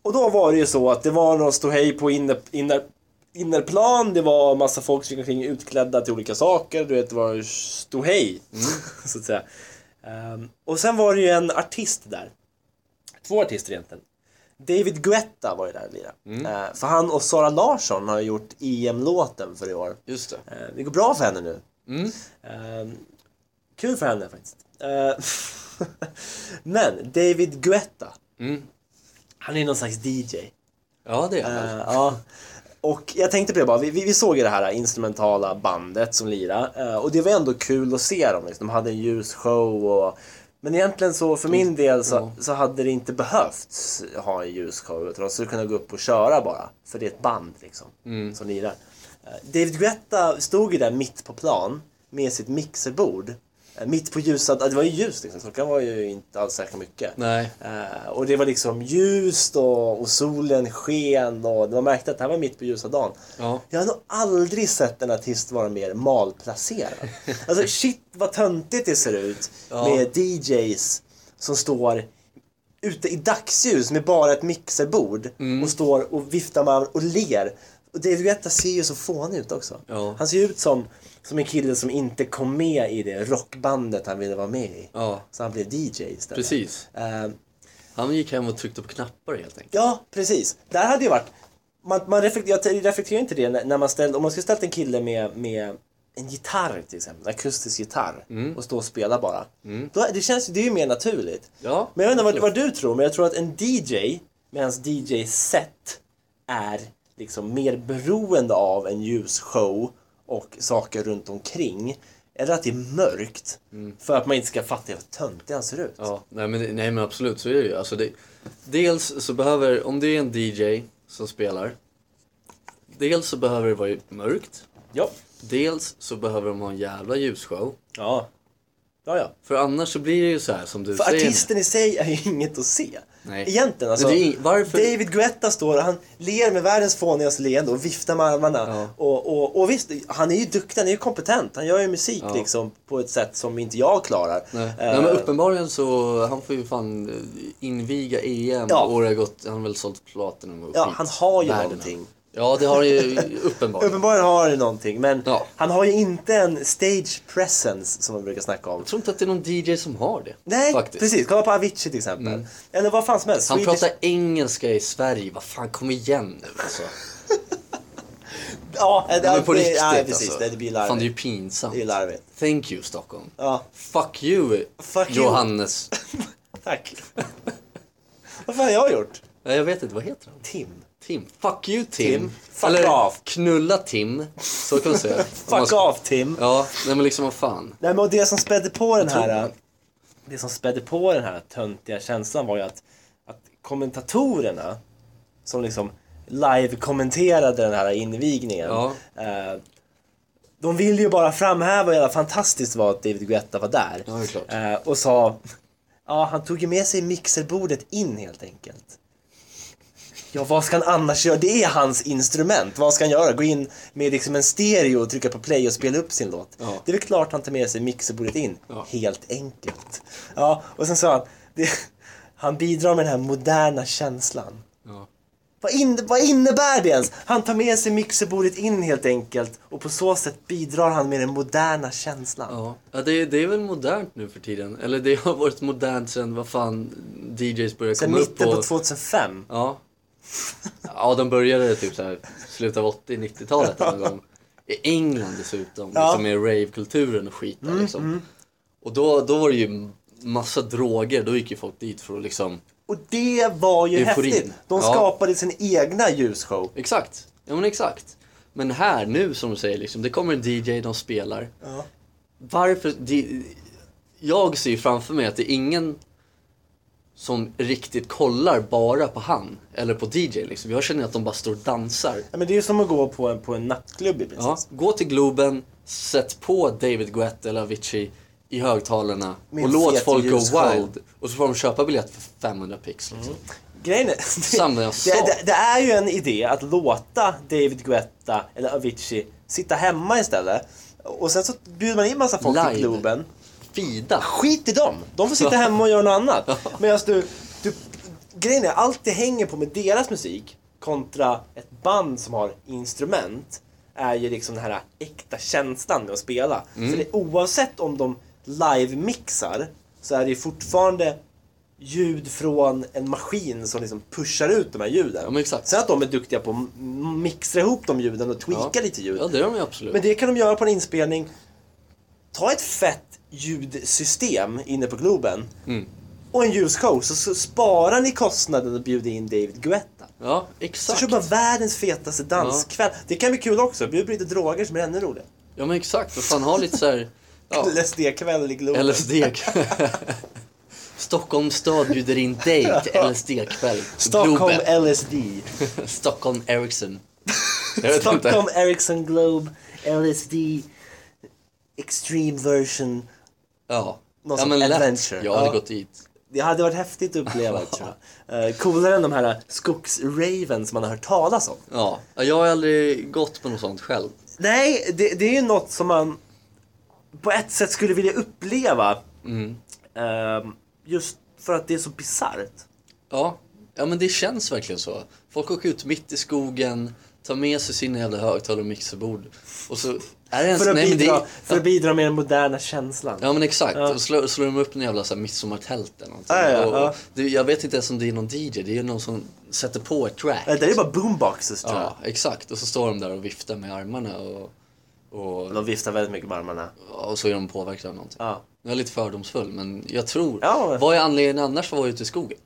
Speaker 2: Och då var det ju så att det var någon ståhej på inner, inner, innerplan, det var massa folk som gick omkring utklädda till olika saker, du vet det var ståhej. mm, [laughs] så att säga. Ehm, och sen var det ju en artist där. Två artister egentligen. David Guetta var ju där och lirade. Ehm, för han och Sara Larsson har ju gjort EM-låten för i år.
Speaker 1: Just det.
Speaker 2: Ehm, det går bra för henne nu.
Speaker 1: Mm.
Speaker 2: Ehm, kul för henne faktiskt. Ehm, [laughs] men David Guetta,
Speaker 1: Mm.
Speaker 2: han är någon slags DJ.
Speaker 1: Ja, det är han väl.
Speaker 2: Eh, ja. Och jag tänkte på det bara, vi, vi, vi såg ju det här instrumentala bandet som lirade eh, och det var ändå kul att se dem. Liksom. De hade en ljus show och men egentligen så för min del så, så hade det inte behövts ha en ljus show utan de skulle kunna gå upp och köra bara. För det är ett band liksom som lirar. Eh, David Guetta stod ju där mitt på plan med sitt mixerbord. eh, Mitt på ljuset, ja, det var ju ljus liksom, klockan var ju inte alls särskilt mycket.
Speaker 1: Nej.
Speaker 2: Eh, och det var liksom ljust och, och solen sken och man märkte att det här var mitt på ljusa dagen.
Speaker 1: Ja.
Speaker 2: Jag har nog aldrig sett en artist vara
Speaker 1: [laughs]
Speaker 2: mer malplacerad. Alltså shit vad töntigt det ser ut
Speaker 1: Ja.
Speaker 2: med DJs som står ute i dagsljus med bara ett mixerbord
Speaker 1: Mm.
Speaker 2: och står och viftar med armen och ler. Och David Guetta ser ju så fånig ut också.
Speaker 1: Ja.
Speaker 2: Han ser ju ut som, som en kille som inte kom med i det rockbandet han ville vara med i.
Speaker 1: Ja.
Speaker 2: Så han blev DJ istället.
Speaker 1: Precis.
Speaker 2: Eh,
Speaker 1: Han gick hem och tryckte på knappar helt enkelt.
Speaker 2: Ja, precis. Där hade ju varit... Man, man reflekterar, jag reflekterar inte det när, när man ställde... Om man skulle ställt en kille med, med en gitarr till exempel, en akustisk gitarr
Speaker 1: Mm.
Speaker 2: och stå och spela bara. Då, det känns ju, det är ju mer naturligt.
Speaker 1: Ja.
Speaker 2: Men jag vet inte vad, vad du tror, men jag tror att en DJ med hans DJ-set är liksom mer beroende av en ljusshow och saker runt omkring. Eller att det är mörkt. För att man inte ska fatta hur töntig han ser ut.
Speaker 1: Mm. Ja, nej men, nej men absolut så är det ju. Alltså det, dels så behöver, om det är en DJ som spelar, dels så behöver det vara mörkt,
Speaker 2: Ja.
Speaker 1: dels så behöver de ha en jävla ljusshow.
Speaker 2: Ja, ja. ja.
Speaker 1: För annars så blir det ju så här som du
Speaker 2: För
Speaker 1: säger.
Speaker 2: artisten i sig är ju [laughs] inget att se.
Speaker 1: Nej.
Speaker 2: Egentligen alltså.
Speaker 1: Men det är- varför-
Speaker 2: David Guetta står och han ler med världens fånigaste leende och viftar med armarna. Och, och, och visst, han är ju duktig, han är ju kompetent. Han gör ju musik liksom på ett sätt som inte jag klarar.
Speaker 1: Nej.
Speaker 2: Eh,
Speaker 1: nej men uppenbarligen så, han får ju fan eh, inviga EM
Speaker 2: Ja.
Speaker 1: och det har gått, han har väl sålt platinum och
Speaker 2: ja,
Speaker 1: skit.
Speaker 2: han har ju
Speaker 1: Världen.
Speaker 2: någonting.
Speaker 1: Ja det har han ju uppenbarligen.
Speaker 2: Uppenbarligen har han ju någonting men
Speaker 1: Ja.
Speaker 2: han har ju inte en stage presence som man brukar snacka om.
Speaker 1: Jag tror inte att det är någon DJ som har det.
Speaker 2: Nej,
Speaker 1: faktiskt. Mm.
Speaker 2: precis. Kolla på Avicii till exempel. Eller vad fan som helst.
Speaker 1: Han
Speaker 2: Swedish-
Speaker 1: pratar engelska i Sverige, vad fan kom igen nu alltså.
Speaker 2: Ja,
Speaker 1: Ja, men på
Speaker 2: det-
Speaker 1: riktigt
Speaker 2: ja, precis.
Speaker 1: alltså.
Speaker 2: Det, det blir larvigt.
Speaker 1: Fan det är ju pinsamt.
Speaker 2: Det är larvigt.
Speaker 1: Thank you Stockholm.
Speaker 2: Ja.
Speaker 1: Fuck you
Speaker 2: Fuck you.
Speaker 1: Johannes. [laughs]
Speaker 2: Tack. Vad fan har jag gjort?
Speaker 1: Nej, jag vet inte, vad heter han?
Speaker 2: Tim.
Speaker 1: Tim. Fuck you Tim.
Speaker 2: Tim. Fuck off.
Speaker 1: knulla Tim. Så kan man
Speaker 2: [laughs]
Speaker 1: säga. Om man
Speaker 2: Fuck
Speaker 1: ska-
Speaker 2: off Tim.
Speaker 1: Ja, nej men liksom vad fan.
Speaker 2: Nej men och det som spädde på den
Speaker 1: tror
Speaker 2: här
Speaker 1: det.
Speaker 2: det som spädde på den här töntiga känslan var ju att, att kommentatorerna som liksom live-kommenterade den här invigningen.
Speaker 1: Ja.
Speaker 2: Eh, de ville ju bara framhäva hur jävla fantastiskt det var att David Guetta var där.
Speaker 1: Ja, det är klart.
Speaker 2: Eh, och sa, ja han tog ju med sig mixerbordet in helt enkelt. Ja vad ska han annars göra? Det är hans instrument. Vad ska han göra? Gå in med liksom en stereo och trycka på play och spela upp sin låt.
Speaker 1: Ja.
Speaker 2: Det är väl klart han tar med sig mixerbordet in.
Speaker 1: Ja.
Speaker 2: Helt enkelt. Ja, och sen sa han, det, han bidrar med den här moderna känslan.
Speaker 1: Ja.
Speaker 2: Vad, in, vad innebär det ens? Han tar med sig mixerbordet in helt enkelt och på så sätt bidrar han med den moderna känslan.
Speaker 1: Ja, ja det, det är väl modernt nu för tiden. Eller det har varit modernt sen, vad fan, DJs började
Speaker 2: Sen
Speaker 1: komma upp
Speaker 2: mitten på 2005.
Speaker 1: Ja. Ja, de började typ så här slutet av 80-90-talet någon gång. I England dessutom,
Speaker 2: Ja. Mm,
Speaker 1: liksom med ravekulturen och skit där, liksom. Och då, då var det ju massa droger, då gick ju folk dit för att liksom...
Speaker 2: Och det var ju
Speaker 1: Euforin.
Speaker 2: häftigt. De
Speaker 1: Ja.
Speaker 2: skapade sin egna ljusshow.
Speaker 1: Exakt, ja men exakt. Men här nu som du säger, liksom, det kommer en DJ, de spelar.
Speaker 2: Ja.
Speaker 1: Varför... di- jag ser ju framför mig att det är ingen som riktigt kollar bara på han eller på DJ liksom. Jag känner att de bara står och dansar.
Speaker 2: Ja, men det är ju som att gå på en, på en nattklubb i princip.
Speaker 1: Ja, gå till Globen, sätt på David Guetta eller Avicii i högtalarna
Speaker 2: Med
Speaker 1: och
Speaker 2: en
Speaker 1: låt
Speaker 2: fet
Speaker 1: folk gå
Speaker 2: ljusshow.
Speaker 1: wild. Och så får de köpa biljett för 500 pix. Liksom.
Speaker 2: Mm. Grejen är,
Speaker 1: Samma jag sa.
Speaker 2: [laughs] det, det, det är ju en idé att låta David Guetta eller Avicii sitta hemma istället Och sen så bjuder man in massa folk
Speaker 1: Live.
Speaker 2: till Globen.
Speaker 1: Fida.
Speaker 2: Skit i dem! De får sitta hemma och göra
Speaker 1: [laughs]
Speaker 2: något annat. Medan du, du... Grejen är, allt det hänger på med deras musik kontra ett band som har instrument är ju liksom den här äkta känslan med att spela.
Speaker 1: Mm.
Speaker 2: Så det, oavsett om de live-mixar så är det ju fortfarande ljud från en maskin som liksom pushar ut de här ljuden.
Speaker 1: Ja, men exakt.
Speaker 2: Sen att de är duktiga på att m- mixtra ihop de ljuden och tweaka lite ljud.
Speaker 1: Ja, det gör de ju absolut.
Speaker 2: Men det kan de göra på en inspelning. Ta ett fett ljudsystem inne på Globen
Speaker 1: Mm.
Speaker 2: och en ljusshow så, så sparar ni kostnaden och bjuder in David Guetta.
Speaker 1: Ja,
Speaker 2: Så
Speaker 1: exakt.
Speaker 2: kör bara världens fetaste danskväll. Det kan bli kul också. Bjud på lite droger som är ännu roligare.
Speaker 1: Ja, men exakt. Vad fan, ha lite så här...
Speaker 2: [laughs]
Speaker 1: Ja,
Speaker 2: LSD-kväll i Globen.
Speaker 1: LSD. [laughs] Stockholms stad bjuder in dig till LSD-kväll.
Speaker 2: Stockholm
Speaker 1: Globen.
Speaker 2: LSD.
Speaker 1: [laughs] Stockholm
Speaker 2: [laughs]
Speaker 1: Ericsson. Jag vet
Speaker 2: Stockholm
Speaker 1: inte.
Speaker 2: Ericsson Globe LSD Extreme version.
Speaker 1: Ja.
Speaker 2: Någon
Speaker 1: ja,
Speaker 2: som
Speaker 1: men lätt.
Speaker 2: adventure.
Speaker 1: Jag hade
Speaker 2: Ja.
Speaker 1: gått dit.
Speaker 2: Det hade varit häftigt
Speaker 1: [laughs]
Speaker 2: att uppleva tror jag. Eh, Coolare än de här skogsraven som man har hört talas om.
Speaker 1: Ja. Ja, Jag har aldrig gått på något sånt själv.
Speaker 2: Nej, det, det är ju något som man på ett sätt skulle vilja uppleva.
Speaker 1: Mm.
Speaker 2: Ehm, just för att det är så bisarrt.
Speaker 1: Ja. ja, men det känns verkligen så. Folk åker ut mitt i skogen, tar med sig sina jävla högtalare och mixerbord. Och så... Är det ens...
Speaker 2: [laughs] För att,
Speaker 1: Nej, men det...
Speaker 2: bidra, för att bidra med den moderna känslan.
Speaker 1: Ja men exakt, och slår, slår de upp en jävla så här, midsommartält eller någonting.
Speaker 2: Ja, ja,
Speaker 1: och,
Speaker 2: ja.
Speaker 1: Och, det, jag vet inte ens om det är någon DJ, det är ju någon som sätter på ett track.
Speaker 2: Eh, Det där är ju bara boomboxes tror
Speaker 1: Ja, exakt. Och så står de där och viftar med armarna och, och,
Speaker 2: jag. De viftar väldigt mycket med armarna.
Speaker 1: och så är de påverkade av någonting.
Speaker 2: Ja.
Speaker 1: Jag är lite fördomsfull men jag tror,
Speaker 2: Ja, men-
Speaker 1: vad är anledningen annars för att vara ute i skogen?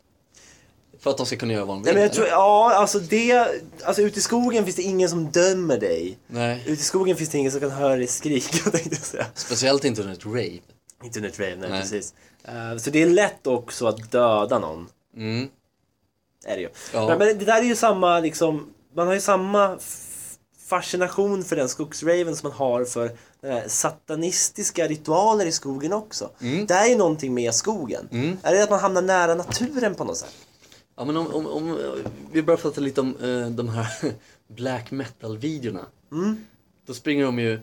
Speaker 1: För att de ska kunna göra vad de vill?
Speaker 2: Nej, men jag
Speaker 1: eller?
Speaker 2: tror, ja, alltså det, alltså ute i skogen finns det ingen som dömer dig.
Speaker 1: Nej,
Speaker 2: Ute i skogen finns det ingen som kan höra dig skrika [laughs] tänkte jag säga.
Speaker 1: speciellt inte under ett rave.
Speaker 2: Internet rave, nej,
Speaker 1: Nej.
Speaker 2: precis. Eh, så det är lätt också att döda någon.
Speaker 1: Mm.
Speaker 2: Är det ju.
Speaker 1: Ja.
Speaker 2: Men, men det där är ju samma liksom, man har ju samma f- fascination för den skogsraven som man har för den här satanistiska ritualer i skogen också.
Speaker 1: Mm.
Speaker 2: Det här är ju någonting med skogen. Är det att man hamnar nära naturen på något sätt?
Speaker 1: Ja men om, om, om vi börjar prata lite om eh, de här [laughs] black metal-videorna. Då springer de ju,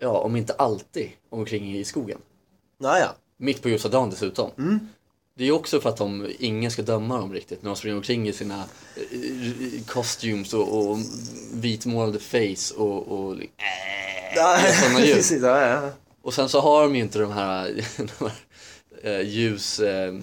Speaker 1: ja om inte alltid, omkring i skogen.
Speaker 2: Naja.
Speaker 1: Mitt på ljusa dagen dessutom. Det är ju också för att de, ingen ska döma dem riktigt när de springer omkring i sina eh, costumes och, och vitmålade face och, och
Speaker 2: Ja,
Speaker 1: det är sådana ljud.
Speaker 2: [laughs] precis, ja, ja.
Speaker 1: och sen så har de ju inte de här, [laughs] de här eh, ljus eh,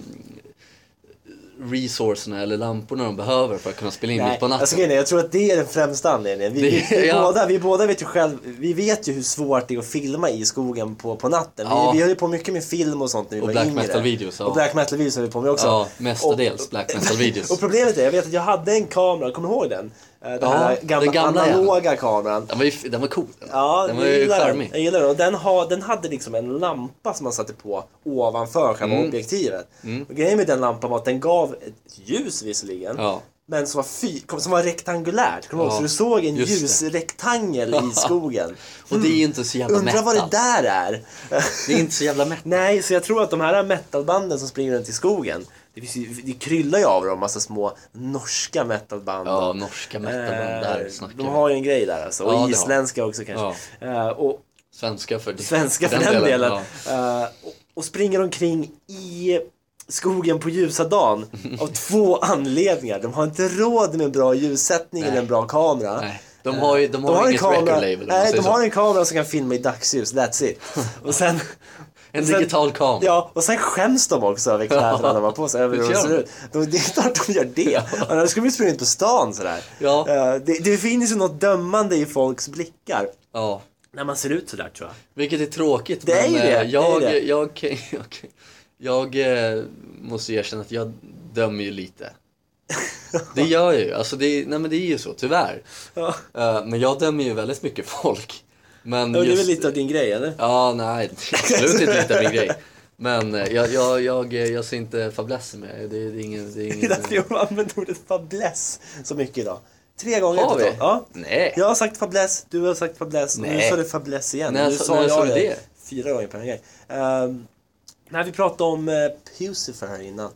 Speaker 1: resourcerna eller lamporna de behöver för att kunna spela in
Speaker 2: Nej,
Speaker 1: mitt på natten.
Speaker 2: alltså, grejen är, jag tror att det är den främsta anledningen. Vi, vi,
Speaker 1: Det- [laughs]
Speaker 2: vi,
Speaker 1: ja.
Speaker 2: båda, vi båda vet ju själv, vi vet ju hur svårt det är att filma i skogen på, på natten.
Speaker 1: Ja.
Speaker 2: Vi, vi höll ju på mycket med film och sånt när vi
Speaker 1: Och
Speaker 2: var
Speaker 1: black
Speaker 2: yngre.
Speaker 1: metal-videos, ja.
Speaker 2: Och black metal-videos höll vi på med också.
Speaker 1: Ja, mestadels black metal-videos.
Speaker 2: [laughs] Och problemet är, jag vet att jag hade en kamera, kommer du ihåg den? Eh, Den
Speaker 1: Ja,
Speaker 2: här
Speaker 1: den
Speaker 2: gamla,
Speaker 1: gamla
Speaker 2: analoga kameran.
Speaker 1: Den var, ju, den var cool. Den,
Speaker 2: Ja,
Speaker 1: den var
Speaker 2: jag
Speaker 1: ju
Speaker 2: gillar den.
Speaker 1: charmig.
Speaker 2: Jag gillar den. Och den, ha, den hade liksom en lampa som man satte på ovanför själva
Speaker 1: Mm.
Speaker 2: objektivet. Och grejen med den lampan var att den gav ett ljus visserligen.
Speaker 1: Ja.
Speaker 2: Men som var, fy, kom- som var rektangulärt. Kommer du
Speaker 1: Ja,
Speaker 2: ihåg? Så du såg en
Speaker 1: just det. [laughs]
Speaker 2: ljusrektangel i skogen.
Speaker 1: Och det är ju inte så jävla
Speaker 2: Undrar vad det
Speaker 1: metal.
Speaker 2: där är? [laughs]
Speaker 1: Det är inte så jävla metal.
Speaker 2: Nej, så jag tror att de här metalbanden som springer runt i skogen, det, finns ju, det kryllar ju av dem, massa små norska metalband.
Speaker 1: Ja,
Speaker 2: Och,
Speaker 1: norska metalband, där
Speaker 2: eh,
Speaker 1: snackar
Speaker 2: de
Speaker 1: vi.
Speaker 2: har ju en grej där alltså, och
Speaker 1: Ja, det har de.
Speaker 2: isländska också kanske. Eh, och
Speaker 1: Svenska för,
Speaker 2: svenska för den, delen. Eh, och, och springer omkring i skogen på ljusa
Speaker 1: [laughs]
Speaker 2: dagen av två anledningar. De har inte råd med en bra ljussättning eller en bra kamera.
Speaker 1: Nej, de
Speaker 2: Eh,
Speaker 1: har ju de har
Speaker 2: en
Speaker 1: inget record label om man
Speaker 2: nej,
Speaker 1: säger
Speaker 2: de
Speaker 1: så.
Speaker 2: har en kamera som kan filma i dagsljus,
Speaker 1: [laughs]
Speaker 2: that's it. Och sen,
Speaker 1: En
Speaker 2: sen-
Speaker 1: digital kamera.
Speaker 2: Ja, och sen skäms de också över kläderna de har
Speaker 1: [laughs]
Speaker 2: på sig, över hur de
Speaker 1: gör
Speaker 2: ser
Speaker 1: de.
Speaker 2: ut. De, det är klart de gör
Speaker 1: [laughs]
Speaker 2: det, annars skulle de ju springa ut på stan sådär.
Speaker 1: Ja.
Speaker 2: Eh, Det, det finns ju något dömande i folks blickar
Speaker 1: Ja.
Speaker 2: när man ser ut sådär tror jag.
Speaker 1: Vilket är tråkigt.
Speaker 2: Det är
Speaker 1: men
Speaker 2: ju det,
Speaker 1: eh,
Speaker 2: det är
Speaker 1: Jag,
Speaker 2: det.
Speaker 1: jag, kan- [laughs] jag, jag, eh, måste erkänna att jag dömer ju
Speaker 2: [laughs]
Speaker 1: lite. Det gör jag ju. Alltså det, nej men det är ju så, tyvärr.
Speaker 2: Ja.
Speaker 1: Eh, Men jag dömer ju väldigt mycket folk. Men
Speaker 2: Och Det är väl
Speaker 1: just-
Speaker 2: lite av din grej eller?
Speaker 1: Ja, nej, det är absolut inte lite min grej. Men eh, jag, jag, jag, eh, jag ser inte fäblessen med. Det är, det är ingen... Det är
Speaker 2: [laughs] [laughs] Det är
Speaker 1: ingen
Speaker 2: därför jag har använt ordet fäbless så mycket idag. Tre gånger
Speaker 1: Har vi?
Speaker 2: totalt. Ja.
Speaker 1: Nej.
Speaker 2: Jag har sagt fäbless, du har sagt fäbless, och nu
Speaker 1: Nej.
Speaker 2: sa du fäbless igen.
Speaker 1: När
Speaker 2: nu
Speaker 1: sa- när sa du det?
Speaker 2: fyra gånger på en grej. Ehm, när vi pratade om uh, eh, Pucifer här innan.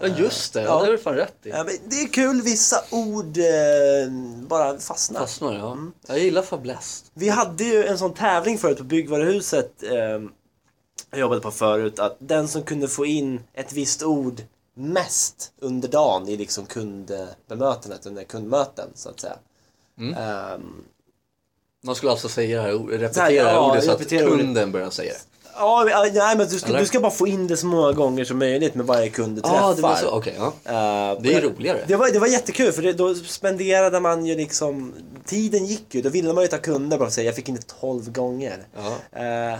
Speaker 1: Ja just det, ja.
Speaker 2: Ja.
Speaker 1: det har du fan rätt i.
Speaker 2: Ja, men det är kul, vissa ord eh, bara fastnar.
Speaker 1: Fastnar ja.
Speaker 2: Mm.
Speaker 1: Jag gillar fabläst.
Speaker 2: Vi hade ju en sån tävling förut på byggvaruhuset ehm, jag jobbade på förut att den som kunde få in ett visst ord mest under dagen i liksom kundbemötandet, under kundmöten så att säga.
Speaker 1: Mm.
Speaker 2: Ehm,
Speaker 1: Man skulle alltså säga det här, or- repetera
Speaker 2: här, ja,
Speaker 1: ordet så att
Speaker 2: repetera ordet.
Speaker 1: kunden börjar säga det.
Speaker 2: Ja, men, nej men du ska,
Speaker 1: Eller?
Speaker 2: du ska bara få in det så många gånger som möjligt med varje kund Ah, du träffar.
Speaker 1: Ja, det var så. Okej, ja.
Speaker 2: Eh,
Speaker 1: Det är
Speaker 2: och-
Speaker 1: roligare.
Speaker 2: Det var, det var jättekul för det, då spenderade man ju liksom, tiden gick ju, då ville man ju ta kunder bara och säga jag fick inte 12 gånger.
Speaker 1: Ja.
Speaker 2: Eh,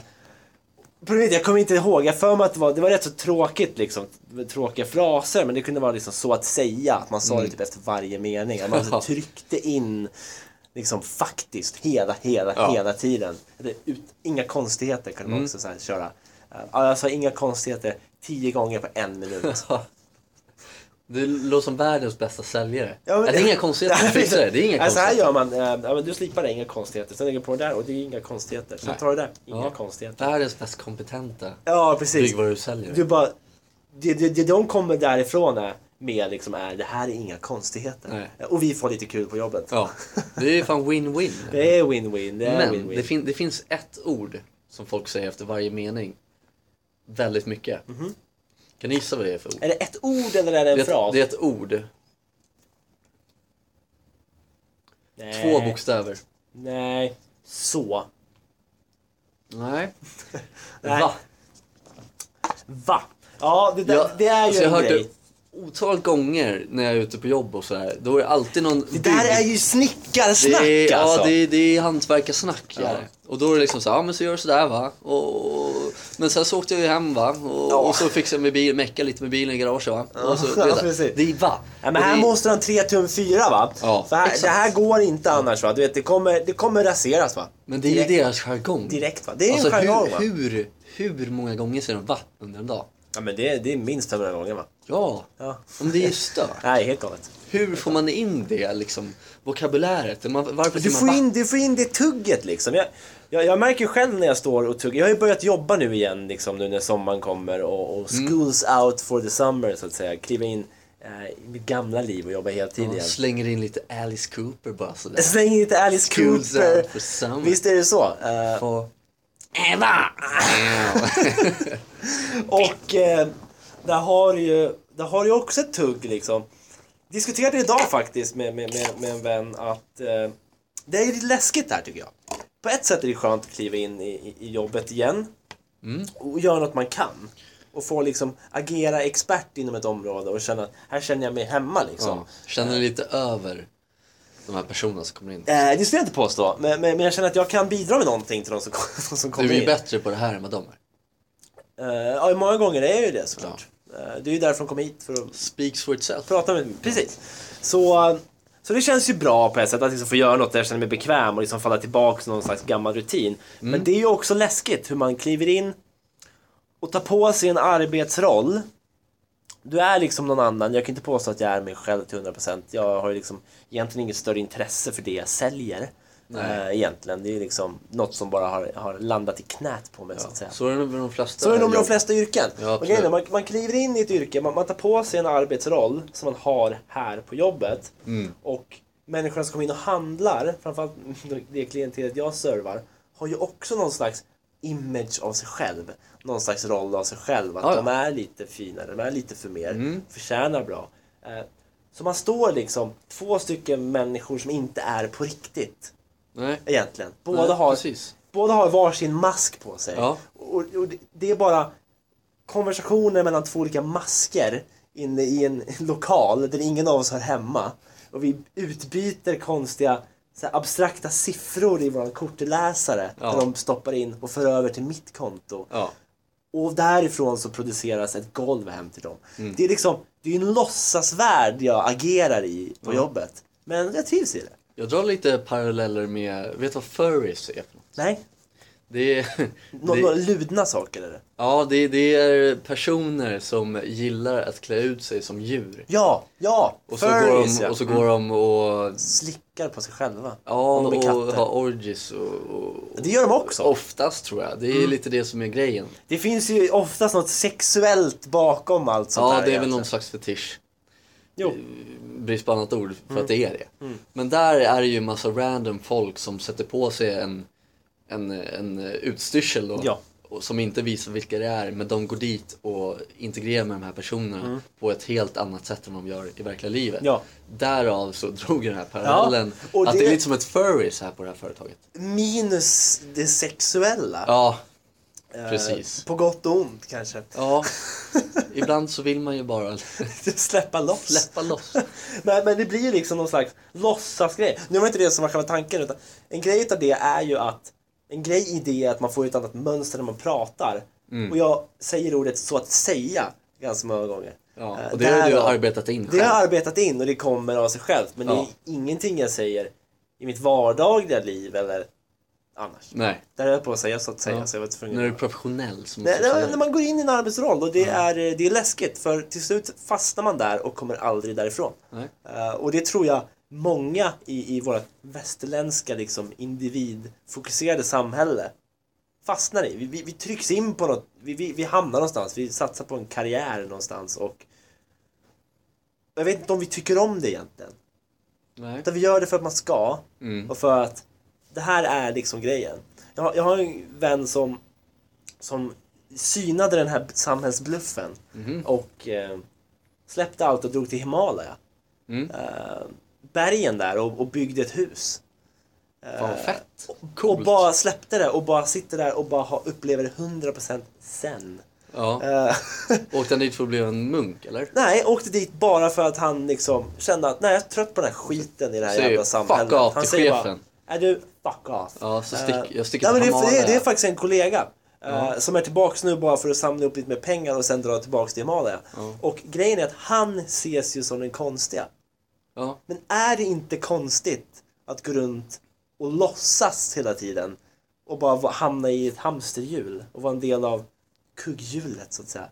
Speaker 2: problemet är, jag kommer inte ihåg, jag för mig att det var, det var rätt så tråkigt liksom, tråkiga fraser men det kunde vara liksom så att säga, att man sa
Speaker 1: Mm.
Speaker 2: det typ efter
Speaker 1: [laughs]
Speaker 2: varje mening. Att man alltså tryckte in liksom faktiskt hela, hela,
Speaker 1: Ja. Mm.
Speaker 2: hela tiden. Det, ut, inga konstigheter kunde man också så här, köra. Eh, ja, jag sa inga konstigheter tio gånger på en minut.
Speaker 1: Det låter som världens bästa säljare.
Speaker 2: Ja, men-
Speaker 1: Äh, det är inga konstigheter att fixa det. Det är inga
Speaker 2: [laughs] Nej, så här
Speaker 1: konstigheter.
Speaker 2: gör man. eh, Ja, men du slipar det, inga konstigheter. Sen lägger du på det där och det är inga konstigheter. Sen
Speaker 1: Nej.
Speaker 2: tar du det där, inga
Speaker 1: Ja.
Speaker 2: konstigheter.
Speaker 1: Världens mest kompetenta
Speaker 2: Ja, precis.
Speaker 1: byggvarusäljare.
Speaker 2: Du bara, det, det, det de kommer därifrån är, med liksom är det här är inga konstigheter.
Speaker 1: Nej.
Speaker 2: Och vi får lite kul på jobbet.
Speaker 1: Ja, det är fan win-win.
Speaker 2: [laughs] Det är win-win. Det är
Speaker 1: Men
Speaker 2: win-win.
Speaker 1: det, fin- det finns ett ord som folk säger efter varje mening. Väldigt mycket. Kan ni gissa vad det är för ord?
Speaker 2: är det ett ord eller är det en
Speaker 1: Det är, ett,
Speaker 2: Mhm. fras?
Speaker 1: det är ett ord.
Speaker 2: Nej.
Speaker 1: Två bokstäver.
Speaker 2: Nej. Så.
Speaker 1: Nej. [laughs]
Speaker 2: Nej.
Speaker 1: Va?
Speaker 2: Va? Ja, det, där,
Speaker 1: Ja,
Speaker 2: det är ju
Speaker 1: alltså jag
Speaker 2: en
Speaker 1: har hört
Speaker 2: grej.
Speaker 1: det otal gånger när jag är ute på jobb och sådär. Då är det alltid någon
Speaker 2: Det där är ju snickarsnack
Speaker 1: det är,
Speaker 2: alltså.
Speaker 1: Ja, det är, det är hantverkarsnack.
Speaker 2: Ja.
Speaker 1: Ja. Och då är det liksom så här, ja men så gör du sådär va. Och, och, men sen så åkte jag ju hem va. Och,
Speaker 2: Ja.
Speaker 1: och så fixade jag med bil, meckade lite med bilen i garaget va. Och så,
Speaker 2: [laughs] Ja,
Speaker 1: det, är
Speaker 2: precis.
Speaker 1: så- det är va.
Speaker 2: Ja,
Speaker 1: Och
Speaker 2: men här
Speaker 1: det, är-
Speaker 2: måste han tre tum fyra va?
Speaker 1: Ja,
Speaker 2: För här,
Speaker 1: exakt.
Speaker 2: det här går inte annars va? Du vet, det kommer, det kommer raseras va?
Speaker 1: men det är ju
Speaker 2: direkt,
Speaker 1: deras jargong.
Speaker 2: direkt va? Det är
Speaker 1: Alltså
Speaker 2: en jargong
Speaker 1: hur,
Speaker 2: va?
Speaker 1: hur, hur många gånger säger de va under en dag?
Speaker 2: Ja men det, det är minst 500 gånger va?
Speaker 1: Ja,
Speaker 2: Ja.
Speaker 1: om
Speaker 2: [laughs]
Speaker 1: det är stört.
Speaker 2: Nej, helt galet.
Speaker 1: Hur får man in det liksom, vokabuläret? Man, varför säger
Speaker 2: Du
Speaker 1: man
Speaker 2: får,
Speaker 1: va?
Speaker 2: in, du får in det tugget liksom. Jag, jag, jag märker själv när jag står och tuggar. Jag har ju börjat jobba nu igen liksom nu när sommaren kommer och, och
Speaker 1: Mm.
Speaker 2: school's out for the summer så att säga. Kliva in eh, i mitt gamla liv och jobba heltid
Speaker 1: Man
Speaker 2: igen.
Speaker 1: slänger in lite Alice Cooper bara sådär.
Speaker 2: Släng in lite Alice
Speaker 1: School's
Speaker 2: Cooper.
Speaker 1: out for summer.
Speaker 2: Visst är det så? Eh,
Speaker 1: Få- Eva!
Speaker 2: Och eh, där har du ju, där har du ju också ett tugg liksom. Diskuterade idag faktiskt med, med, med, med en vän att eh, det är lite läskigt där tycker jag. På ett sätt är det skönt att kliva in i, i- i jobbet igen
Speaker 1: Mm.
Speaker 2: och göra något man kan. Och få liksom agera expert inom ett område och känna att här känner jag mig hemma liksom.
Speaker 1: Ja, känner lite över de här personerna som kommer in.
Speaker 2: Eh, det skulle jag inte påstå, men, men, men jag känner att jag kan bidra med någonting till de som, [laughs] de som kommer
Speaker 1: Du är ju
Speaker 2: in.
Speaker 1: bättre på det här än vad de är.
Speaker 2: Eh, ja, många gånger är jag ju det såklart. Eh, det är ju därför de kom hit, för att
Speaker 1: Speaks for itself.
Speaker 2: prata med Precis. Så, så det känns ju bra på ett sätt att liksom få göra något där jag känner mig bekväm och liksom falla tillbaka till någon slags gammal rutin. Men det är ju också läskigt hur man kliver in och tar på sig en arbetsroll. Du är liksom någon annan, jag kan inte påstå att jag är mig själv till 100%. Jag har ju liksom egentligen inget större intresse för det jag säljer. Eh, egentligen, det är ju liksom något som bara har, har landat i knät på mig så att säga.
Speaker 1: Så är det nog med de flesta
Speaker 2: Så är det nog med de
Speaker 1: jobb.
Speaker 2: flesta yrken.
Speaker 1: Ja,
Speaker 2: Och grejen är,
Speaker 1: absolut.
Speaker 2: man, man kliver in i ett yrke, man, man tar på sig en arbetsroll som man har här på jobbet.
Speaker 1: Mm.
Speaker 2: Och människorna som kommer in och handlar, framförallt [laughs] det klientelet jag servar, har ju också någon slags image av sig själv. Någon slags roll av sig själv. Att
Speaker 1: Ja, Mm. ja.
Speaker 2: de är lite finare, de är lite för mer, förtjänar bra. Eh, Så man står liksom två stycken människor som inte är på riktigt
Speaker 1: Nej.
Speaker 2: egentligen. Båda,
Speaker 1: Nej,
Speaker 2: har,
Speaker 1: precis.
Speaker 2: båda har varsin mask på sig.
Speaker 1: Ja.
Speaker 2: Och, och det- det är bara konversationer mellan två olika masker inne i en [laughs] lokal där ingen av oss hör hemma. Och vi utbyter konstiga så här, abstrakta siffror i våran kortläsare
Speaker 1: Ja.
Speaker 2: där de stoppar in och för över till mitt konto.
Speaker 1: Ja.
Speaker 2: Och därifrån så produceras ett golv hem till dem.
Speaker 1: Mm.
Speaker 2: Det är liksom, det är en låtsasvärld jag agerar i på jobbet. Men jag trivs i det.
Speaker 1: Jag drar lite paralleller med, vet du vad furries är för något?
Speaker 2: Nej?
Speaker 1: Det är,
Speaker 2: [laughs] Nå-
Speaker 1: det-
Speaker 2: Några ludna saker eller?
Speaker 1: ja, det, det är personer som gillar att klä ut sig som djur.
Speaker 2: Ja, ja!
Speaker 1: Och så, går
Speaker 2: furries,
Speaker 1: de,
Speaker 2: ja.
Speaker 1: och så går de och,
Speaker 2: Slickar på sig själva.
Speaker 1: ja,
Speaker 2: Om de är
Speaker 1: och
Speaker 2: katter.
Speaker 1: har orgies och, och,
Speaker 2: Det gör de också.
Speaker 1: Oftast tror jag. Det
Speaker 2: Mm.
Speaker 1: är lite det som är grejen.
Speaker 2: Det finns ju oftast något sexuellt bakom allt sånt
Speaker 1: Ja,
Speaker 2: här
Speaker 1: det är väl
Speaker 2: egentligen.
Speaker 1: någon slags fetisch.
Speaker 2: Jo.
Speaker 1: Brist på annat ord för
Speaker 2: Mm.
Speaker 1: att det är det. Men där är det ju en massa random folk som sätter på sig en, en, en utstyrsel då.
Speaker 2: Ja.
Speaker 1: Och som inte visar vilka det är, men de går dit och integrerar med de här personerna på ett helt annat sätt än de gör i verkliga livet.
Speaker 2: Mm. Ja.
Speaker 1: Därav så drog jag den här parallellen.
Speaker 2: Ja, och
Speaker 1: Att det
Speaker 2: det-
Speaker 1: är lite som ett furries här på det här företaget.
Speaker 2: Minus det sexuella.
Speaker 1: Ja,
Speaker 2: Eh,
Speaker 1: precis.
Speaker 2: På gott och ont kanske. [laughs]
Speaker 1: ja. [laughs] ibland så vill man ju bara
Speaker 2: Släppa loss.
Speaker 1: släppa loss.
Speaker 2: Men, men det blir ju liksom någon slags låtsasgrej. Nu var det inte det som var själva tanken utan en grej utav det är ju att en grej i det är att man får ett annat mönster när man pratar.
Speaker 1: Mm.
Speaker 2: Och jag säger ordet så att säga ganska många gånger.
Speaker 1: Ja,
Speaker 2: Eh,
Speaker 1: och det har du
Speaker 2: därav-
Speaker 1: arbetat in
Speaker 2: Det
Speaker 1: själv.
Speaker 2: har jag arbetat in och det kommer av sig självt men det
Speaker 1: Ja.
Speaker 2: är ingenting jag säger i mitt vardagliga liv eller annars.
Speaker 1: Nej.
Speaker 2: Där höll jag på att säga så att säga
Speaker 1: Ja.
Speaker 2: så jag var tvungen
Speaker 1: När du är
Speaker 2: att-
Speaker 1: professionell så måste
Speaker 2: Nej,
Speaker 1: du säga
Speaker 2: när,
Speaker 1: det.
Speaker 2: när man går in i en arbetsroll och det, är, eh, det är läskigt för till slut fastnar man där och kommer aldrig därifrån.
Speaker 1: Nej.
Speaker 2: Eh, och det tror jag många i, i våra västerländska liksom, individfokuserade samhälle fastnar i. Vi, vi, vi trycks in på något, vi, vi, vi hamnar någonstans, vi satsar på en karriär någonstans och jag vet inte om vi tycker om det egentligen.
Speaker 1: Nej.
Speaker 2: Utan vi gör det för att man ska
Speaker 1: Mm.
Speaker 2: och för att det här är liksom grejen. Jag, har- jag har en vän som, som synade den här samhällsbluffen
Speaker 1: Mhm.
Speaker 2: och eh, släppte allt och drog till Himalaya.
Speaker 1: Mm.
Speaker 2: Eh, bergen där och, och byggde ett hus.
Speaker 1: Fan vad fett.
Speaker 2: Och bara släppte det och bara sitter där och bara har, upplever det 100% sen.
Speaker 1: Ja.
Speaker 2: Eh,
Speaker 1: Åkte han dit för att bli en munk eller?
Speaker 2: [laughs] Nej, åkte dit bara för att han liksom kände att nej, jag är trött på den här skiten i det här
Speaker 1: Säger
Speaker 2: jävla
Speaker 1: fuck
Speaker 2: samhället.
Speaker 1: off
Speaker 2: han
Speaker 1: till
Speaker 2: säger
Speaker 1: chefen.
Speaker 2: bara, är du fuck off.
Speaker 1: Ja, så stick-
Speaker 2: Eh,
Speaker 1: jag sticker
Speaker 2: nej,
Speaker 1: till
Speaker 2: men det, är- det, är- det är
Speaker 1: Himalaya.
Speaker 2: faktiskt en kollega. eh, Som är tillbaks nu bara för att samla upp lite mer pengar och sen dra tillbaks till Himalaya. Och grejen är att han ses ju som den konstiga.
Speaker 1: Ja.
Speaker 2: Men är det inte konstigt att gå runt och låtsas hela tiden och bara va- hamna i ett hamsterhjul och vara en del av kugghjulet så att säga?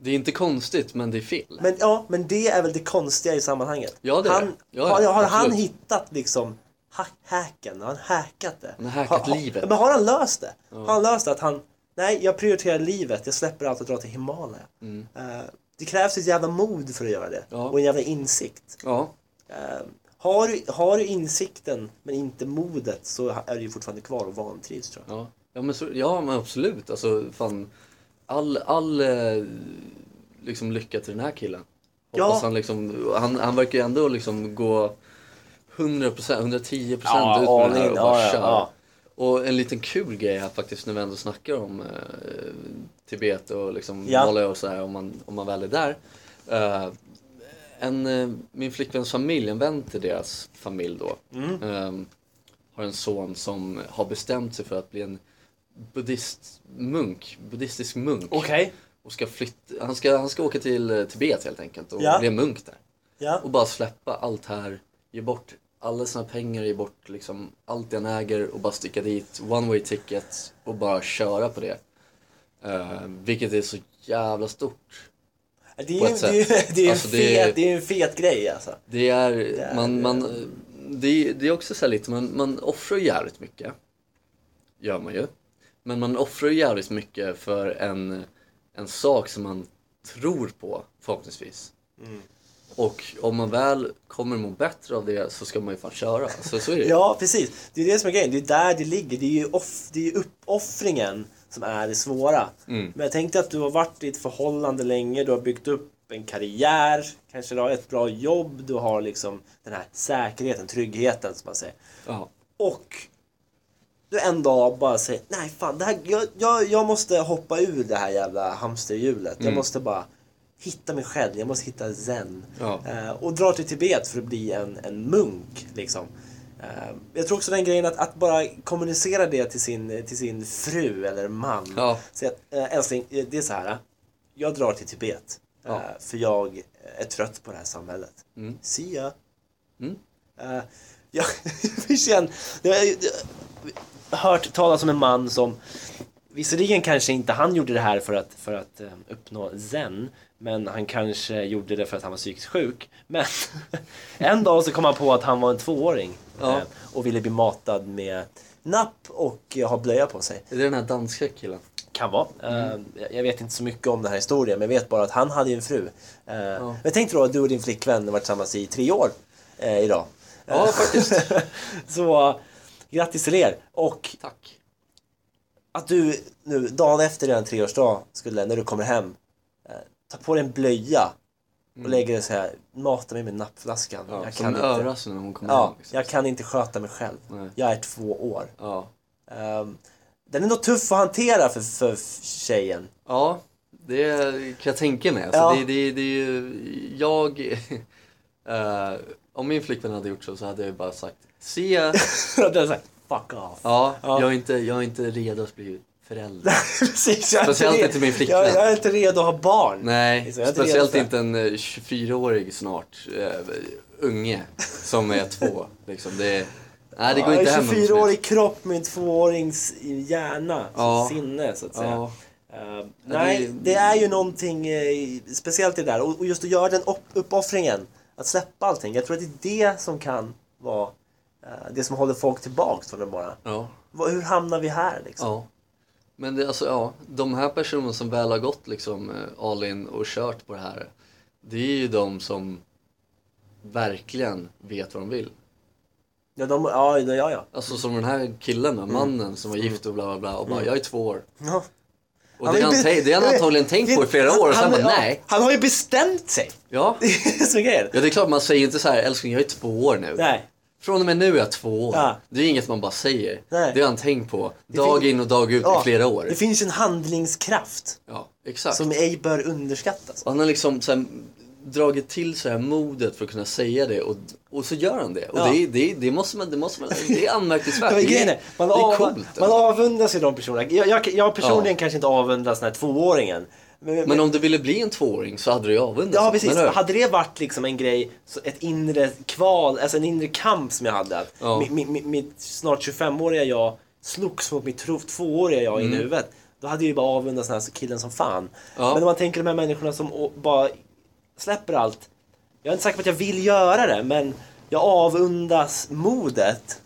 Speaker 1: Det är inte konstigt men det är fel.
Speaker 2: Men, ja, men det är väl det konstiga i sammanhanget.
Speaker 1: Ja, det är det.
Speaker 2: han,
Speaker 1: Ja,
Speaker 2: har,
Speaker 1: ja,
Speaker 2: har han
Speaker 1: absolut.
Speaker 2: hittat liksom ha- hacken? Har han hackat det?
Speaker 1: Han har hackat livet.
Speaker 2: Men har han löst det? Har han löst det att han, nej jag prioriterar livet, jag släpper allt och drar till Himalaya. Eh, det krävs ett jävla mod för att göra det.
Speaker 1: Mm. Ja.
Speaker 2: Och en jävla insikt.
Speaker 1: Ja.
Speaker 2: Eh, har, du, har du insikten men inte modet så är du ju fortfarande kvar och vantrivs tror jag.
Speaker 1: Ja. Ja men, så, ja men absolut. Alltså fan. All, all eh, liksom lycka till den här killen.
Speaker 2: Ja.
Speaker 1: Hoppas han liksom, han, han verkar ju ändå liksom gå 100%, 110%
Speaker 2: Ja,
Speaker 1: ut med
Speaker 2: all
Speaker 1: det här
Speaker 2: in.
Speaker 1: och
Speaker 2: Ja,
Speaker 1: bara
Speaker 2: ja,
Speaker 1: kör.
Speaker 2: ja.
Speaker 1: Och en liten kul grej här faktiskt när vi ändå snackar om eh, Tibet och liksom
Speaker 2: Ja.
Speaker 1: Malaya och sådär om man, om man väl är där. Eh, en, eh, min flickväns familj, en vän till deras familj då,
Speaker 2: Mm.
Speaker 1: eh, har en son som har bestämt sig för att bli en buddhistmunk, buddhistisk munk. Och ska flytta, han, ska, han ska åka till eh, Tibet helt enkelt och
Speaker 2: Ja.
Speaker 1: bli munk där.
Speaker 2: Ja.
Speaker 1: Och bara släppa allt här, ge bort alla sina pengar, ge bort liksom allt han äger och bara sticka dit, one way ticket och bara köra på det. Eh, vilket är så jävla stort.
Speaker 2: Det är
Speaker 1: på
Speaker 2: ju
Speaker 1: ett
Speaker 2: det är ju-
Speaker 1: sätt.
Speaker 2: det är ju en
Speaker 1: Alltså, det är-
Speaker 2: fet- det är ju en fet grej alltså.
Speaker 1: Det är, man, man, eh, det, det är också så här lite, man, man offrar ju jävligt mycket. Gör man ju. Men man offrar ju jävligt mycket för en, en sak som man tror på, förhoppningsvis. Och om man väl kommer må bättre av det så ska man ju fan köra. Så, så är det ju.
Speaker 2: Ja, precis. Det är det som är grejen. Det är där det ligger. Det är ju, off, det är ju uppoffringen som är det svåra. Men jag tänkte att du har varit i ett förhållande länge. Du har byggt upp en karriär. Kanske du har ett bra jobb. Du har liksom den här säkerheten, tryggheten som man säger.
Speaker 1: Ja.
Speaker 2: Och du en dag bara säger nej fan, det här, jag, jag, jag måste hoppa ur det här jävla hamsterhjulet. Jag måste bara hitta mig själv, jag måste hitta zen.
Speaker 1: Ja.
Speaker 2: Eh, och drar till Tibet för att bli en, en munk. Liksom. Eh, jag tror också den grejen att, att bara kommunicera det till sin, till sin fru eller man.
Speaker 1: Ja.
Speaker 2: Säga att eh, älskling, eh, det är så här. eh, Jag drar till Tibet. eh,
Speaker 1: Ja. Mm.
Speaker 2: För jag är trött på det här samhället. See [laughs] ya. Eh, jag, vi känner, det är- det- hört talas om en man som Visserligen kanske inte han gjorde det här för att, för att eh, uppnå zen Men han kanske gjorde det för att han var psykiskt sjuk Men [laughs] en dag så kom han på att han var en tvååring
Speaker 1: Ja.
Speaker 2: eh, Och ville bli matad med napp och eh, ha blöja på sig
Speaker 1: Är det den här danska killen?
Speaker 2: Kan vara.
Speaker 1: Mm.
Speaker 2: Eh, jag- Jag vet inte så mycket om den här historien men jag vet bara att han hade ju en fru. Eh, Men tänk dig då att du och din flickvän har varit tillsammans i tre år eh, idag.
Speaker 1: Ja, faktiskt.
Speaker 2: [laughs] Så eh, grattis till er! Och
Speaker 1: Tack.
Speaker 2: att du nu dagen efter din treårsdag skulle, när du kommer hem, eh, ta på dig en blöja och lägga dig så här, mata mig med nappflaskan.
Speaker 1: Mm. Ja,
Speaker 2: jag,
Speaker 1: som
Speaker 2: kan inte,
Speaker 1: öras när hon kommer
Speaker 2: ja,
Speaker 1: hem. Liksom.
Speaker 2: jag kan inte sköta mig själv.
Speaker 1: Nej.
Speaker 2: Jag är två år.
Speaker 1: Ja.
Speaker 2: Eh, Den är nog tuff att hantera för, för tjejen.
Speaker 1: ja, det kan jag tänka mig. Alltså,
Speaker 2: Ja.
Speaker 1: det, det, det är ju, jag... [laughs] eh, om min flickvän hade gjort så, så hade jag bara sagt se,
Speaker 2: [laughs]
Speaker 1: ja,
Speaker 2: Den är såhär, fuck off.
Speaker 1: Jag, är inte, jag är inte redo att bli förälder.
Speaker 2: [laughs] Precis, jag är
Speaker 1: Speciellt
Speaker 2: re-
Speaker 1: inte min flickvän.
Speaker 2: Jag, jag är inte redo att ha barn.
Speaker 1: Nej,
Speaker 2: Liksom, jag är inte
Speaker 1: speciellt
Speaker 2: redo
Speaker 1: inte en eh, 24-årig snart eh, unge som är två. Liksom. Det, nej, det går
Speaker 2: Ja,
Speaker 1: inte
Speaker 2: en
Speaker 1: hem. hos mig.
Speaker 2: 24-årig kropp med en tvåårings hjärna, så
Speaker 1: Ja.
Speaker 2: sinne så att säga.
Speaker 1: Ja.
Speaker 2: Eh,
Speaker 1: det-
Speaker 2: nej, det är ju någonting eh, speciellt i det där. Och, och just att göra den upp, uppoffringen, att släppa allting. Jag tror att det är det som kan vara eh, det som håller folk tillbaks från det bara.
Speaker 1: Ja.
Speaker 2: Vad- Hur hamnar vi här liksom?
Speaker 1: Ja. Men det, alltså, ja, de här personerna som väl har gått liksom, eh, all in och kört på det här, det är ju de som verkligen vet vad de vill.
Speaker 2: Ja, de, ja, ja, ja, ja.
Speaker 1: Alltså som den här killen,
Speaker 2: Mm.
Speaker 1: då, mannen som var gift och bla bla bla och bara jag är två år.
Speaker 2: ja.
Speaker 1: Och det, är han, tänk- det har han antagligen tänkt på i flera år och sen bara nej.
Speaker 2: Han har ju bestämt sig! [laughs]
Speaker 1: Ja.
Speaker 2: Det är så grejen.
Speaker 1: ja, det är klart man säger inte så här älskling jag är två år nu.
Speaker 2: Nej.
Speaker 1: Från och med nu är jag två år.
Speaker 2: Ja.
Speaker 1: Det är inget man bara säger.
Speaker 2: Nej.
Speaker 1: Det har han tänkt på dag
Speaker 2: fin-
Speaker 1: in och dag ut i flera år.
Speaker 2: Det finns en handlingskraft
Speaker 1: Ja, exakt.
Speaker 2: som ej bör underskattas.
Speaker 1: Och han har liksom så här, dragit till så här modet för att kunna säga det och, och så gör han det. Och
Speaker 2: Ja.
Speaker 1: det, är- det, är- det måste man, det måste man, det är
Speaker 2: [laughs]
Speaker 1: anmärkningsvärt.
Speaker 2: Men
Speaker 1: det,
Speaker 2: grejen
Speaker 1: är,
Speaker 2: är, man,
Speaker 1: det är
Speaker 2: av,
Speaker 1: coolt. alltså.
Speaker 2: man avundas ju de personerna. Jag, jag, jag personligen kanske inte avundas den här tvååringen. Men, men,
Speaker 1: men om du ville bli en tvååring så hade du ju avundats.
Speaker 2: ja,
Speaker 1: det,
Speaker 2: precis.
Speaker 1: eller hur?
Speaker 2: Hade det varit liksom en grej, så ett inre kval, alltså en inre kamp som jag hade. Att
Speaker 1: Ja.
Speaker 2: mi- mi- mi- mitt snart 25-åriga jag slogs mot mitt tro- tvååriga jag in i huvudet. Då hade jag ju bara avundats den här killen som fan.
Speaker 1: Mm. Ja.
Speaker 2: Men om man tänker de här människorna som å- bara släpper allt. Jag är inte säker på att jag vill göra det, men jag avundas modet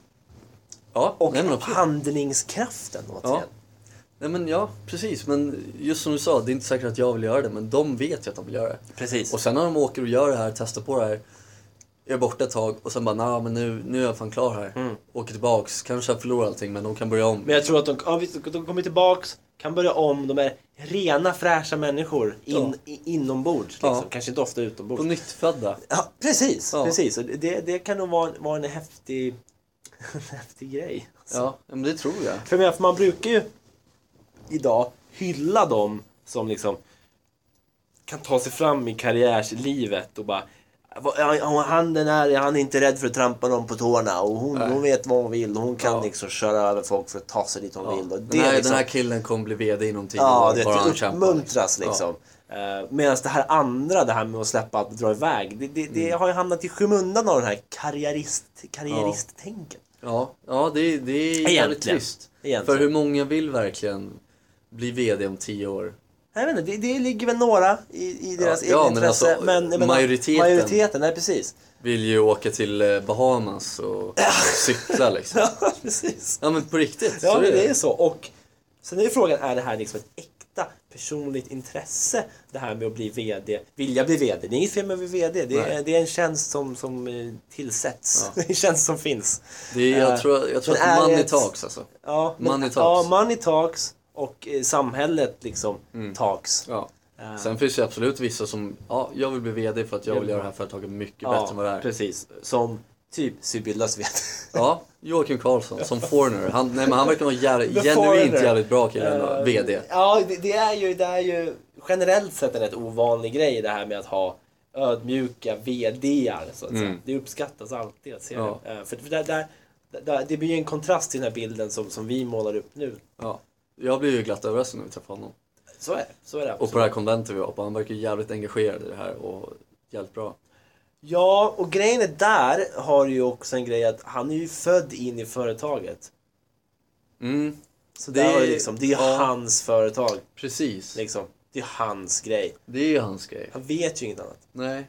Speaker 1: ja,
Speaker 2: och
Speaker 1: nej, men absolut.
Speaker 2: handlingskraften.
Speaker 1: ja.
Speaker 2: återigen.
Speaker 1: Nej, men ja, precis. Men just som du sa, det är inte säkert att jag vill göra det, men de vet ju att de vill göra det.
Speaker 2: Precis.
Speaker 1: Och sen när de åker och gör det här, testar på det här, är borta ett tag och sen bara, nah, men nu, nu är jag fan klar här. Åker tillbaks, kanske jag förlorar allting, men de kan börja om.
Speaker 2: Mm. Men jag tror att de, ja, visst, de kommer tillbaks, kan börja om, de är rena fräscha människor in, i, inombords. Liksom.
Speaker 1: Ja.
Speaker 2: Kanske inte ofta
Speaker 1: På
Speaker 2: utombords.
Speaker 1: nyttfödda.
Speaker 2: Ja, precis,
Speaker 1: Ja.
Speaker 2: precis. Och Det, det kan nog vara, en- vara en häftig, [laughs] en häftig grej.
Speaker 1: Ja, men det tror jag.
Speaker 2: För, jag menar, för man brukar ju idag hylla dem som liksom kan ta sig fram i karriärslivet och bara "Vad- ja, och han den här, han är inte rädd för att trampa någon på tårna och hon, hon vet vad hon vill och hon kan
Speaker 1: Ja.
Speaker 2: liksom köra över folk för att ta sig dit hon vill. Och det
Speaker 1: den, här,
Speaker 2: liksom,
Speaker 1: den här killen kommer bli VD inom tio
Speaker 2: ja,
Speaker 1: år,
Speaker 2: det
Speaker 1: bara han
Speaker 2: är typ
Speaker 1: kämpar.
Speaker 2: uppmuntras liksom. Eh, Medan det här andra, det här med att släppa allt och dra iväg, det, det, det
Speaker 1: Mm.
Speaker 2: har ju hamnat i skymundan av den här karriärist, karriäristtänket.
Speaker 1: Ja, ja det, det är jävligt
Speaker 2: Egentligen.
Speaker 1: trist.
Speaker 2: Egentligen.
Speaker 1: För hur många vill verkligen bli VD om tio år?
Speaker 2: Jag vet inte, det, det ligger väl några i, i deras
Speaker 1: Ja,
Speaker 2: egna
Speaker 1: ja, men
Speaker 2: intresse.
Speaker 1: alltså,
Speaker 2: men jag menar,
Speaker 1: majoriteten-
Speaker 2: Majoriteten, nej precis.
Speaker 1: Vill ju åka till eh, Bahamas och
Speaker 2: [laughs]
Speaker 1: cykla liksom.
Speaker 2: Ja, [laughs] precis.
Speaker 1: [laughs] Ja men på riktigt,
Speaker 2: Ja,
Speaker 1: så
Speaker 2: men
Speaker 1: är
Speaker 2: det
Speaker 1: det.
Speaker 2: är så. Och sen är ju frågan, är det här liksom ett äkta personligt intresse? Det här med att bli VD, vilja bli VD. Det är inget fel med att bli VD. Det är,
Speaker 1: Nej.
Speaker 2: det är en tjänst som, som eh, tillsätts. [laughs] Det är en tjänst som finns.
Speaker 1: det är, jag
Speaker 2: Eh,
Speaker 1: tror, jag tror
Speaker 2: men är
Speaker 1: att
Speaker 2: det
Speaker 1: money
Speaker 2: ett-
Speaker 1: talks alltså.
Speaker 2: Ja, men,
Speaker 1: Money talks.
Speaker 2: Ja, money talks och eh, samhället liksom talks.
Speaker 1: Mm. Ja. Sen finns det absolut vissa som, ja jag vill bli VD för att jag vill göra det här företaget mycket bättre än vad det är.
Speaker 2: precis. Som typ Sybyllas VD.
Speaker 1: [laughs] Ja, Joakim Karlsson som foreigner. Han, nej, men han verkar vara jävla-
Speaker 2: The
Speaker 1: genuint
Speaker 2: foreigner.
Speaker 1: jävligt bra kille ändå,
Speaker 2: Eh,
Speaker 1: VD.
Speaker 2: Ja, det, det, är ju, det är ju generellt sett en rätt ovanlig grej det här med att ha ödmjuka VDar. Så att säga. Det uppskattas alltid att se
Speaker 1: Mm. Ja.
Speaker 2: det. Eh, För, för där, där, där, det blir ju en kontrast till den här bilden som, som vi målar upp nu.
Speaker 1: Ja. Jag blev ju glatt överraskad när vi träffade honom.
Speaker 2: Så är det. Så är det
Speaker 1: Och på det här konventet vi var på, han verkar ju jävligt engagerad i det här och jävligt bra.
Speaker 2: Ja, och grejen är där har ju också en grej att han är ju född in i företaget.
Speaker 1: Mm,
Speaker 2: Så
Speaker 1: Det
Speaker 2: det, där var
Speaker 1: är-
Speaker 2: det, liksom, det är ju
Speaker 1: ja.
Speaker 2: hans företag.
Speaker 1: precis.
Speaker 2: Liksom. Det är hans grej.
Speaker 1: Det är ju hans grej.
Speaker 2: Han vet ju inget annat.
Speaker 1: Nej.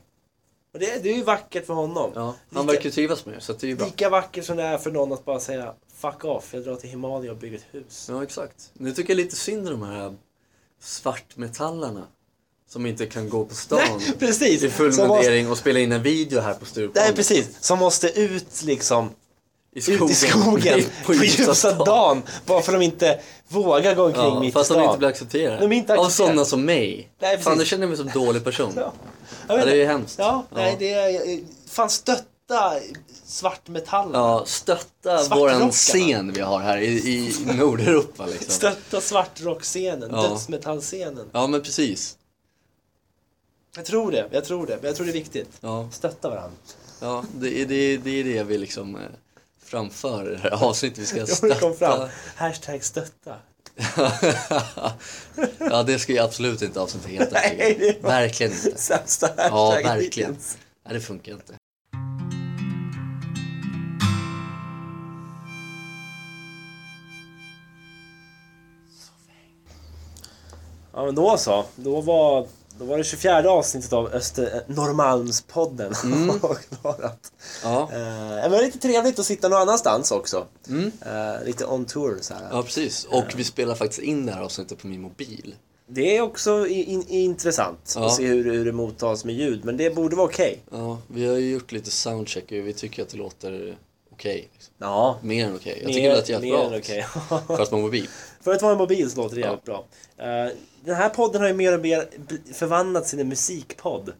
Speaker 2: Och det, det är ju vackert för honom.
Speaker 1: Ja, han
Speaker 2: Lika-
Speaker 1: verkar ju trivas med det, så att det är ju bra.
Speaker 2: Lika vackert som det är för någon att bara säga Fuck off, jag drar till Himalaya och bygger ett hus.
Speaker 1: Ja, exakt. Nu tycker jag lite synd om de här svartmetallarna som inte kan gå på stan
Speaker 2: Nej, precis!
Speaker 1: i full
Speaker 2: Som måste,
Speaker 1: mundering och spela in en video här på Stureplan.
Speaker 2: nej, precis! Som måste ut liksom,
Speaker 1: I skogen.
Speaker 2: ut
Speaker 1: [laughs]
Speaker 2: i skogen på ljusa dagen. Bara för att de inte vågar gå omkring
Speaker 1: Ja,
Speaker 2: mitt i
Speaker 1: fast de
Speaker 2: stan.
Speaker 1: inte blir accepterade.
Speaker 2: De är inte
Speaker 1: Av
Speaker 2: accepterade.
Speaker 1: sådana som mig.
Speaker 2: Nej, precis.
Speaker 1: Fan, nu känner jag mig som en dålig person.
Speaker 2: Ja. Jag
Speaker 1: Ja,
Speaker 2: vet
Speaker 1: det är ju
Speaker 2: inte.
Speaker 1: hemskt.
Speaker 2: Ja, nej det är... eh, Fan stötta svartmetallen.
Speaker 1: Ja, stötta
Speaker 2: Svartrockarna.
Speaker 1: våran scen vi har här i, i Nordeuropa liksom.
Speaker 2: [laughs] Stötta svartrockscenen,
Speaker 1: Ja.
Speaker 2: dödsmetallscenen.
Speaker 1: Ja, men precis.
Speaker 2: Jag tror det, jag tror det. Jag tror det är viktigt.
Speaker 1: Ja, [laughs]
Speaker 2: Stötta varandra.
Speaker 1: ja det, är- det, är- det är det vi liksom eh, framför i det här avsnittet.
Speaker 2: [laughs]
Speaker 1: Vi ska
Speaker 2: Jag kom fram.
Speaker 1: stötta.
Speaker 2: Hashtag stötta.
Speaker 1: [laughs] ja, det ska ju absolut inte avsnittet heta.
Speaker 2: Nej,
Speaker 1: tycker jag.
Speaker 2: det var-
Speaker 1: Verkligen inte.
Speaker 2: Sämsta hashtag
Speaker 1: Ja, verkligen.
Speaker 2: hittills.
Speaker 1: Nej, det funkar inte.
Speaker 2: Ja men då så. Då var, då var det 24 avsnittet av Öster eh, Norrmalmspodden
Speaker 1: Mm.
Speaker 2: [laughs] avklarat.
Speaker 1: Ja,
Speaker 2: Eh, men det var lite trevligt att sitta någon annanstans också.
Speaker 1: Mm.
Speaker 2: Eh, lite on tour så här.
Speaker 1: ja precis. Och vi spelar faktiskt in det här avsnittet på min mobil.
Speaker 2: Det är också i- in, intressant
Speaker 1: Ja.
Speaker 2: att se hur, hur det mottas med ljud, men det borde vara okej.
Speaker 1: Ja, vi har ju gjort lite soundcheck och vi tycker att det låter okej. liksom.
Speaker 2: Ja.
Speaker 1: Mer än okej. Jag
Speaker 2: Mer-
Speaker 1: tycker det lät jättebra.
Speaker 2: mer än okej. [laughs]
Speaker 1: Fast man mobil.
Speaker 2: För att vara en mobil så låter det jävligt bra. Eh, den här podden har ju mer och mer bl- förvandlats till en musikpodd.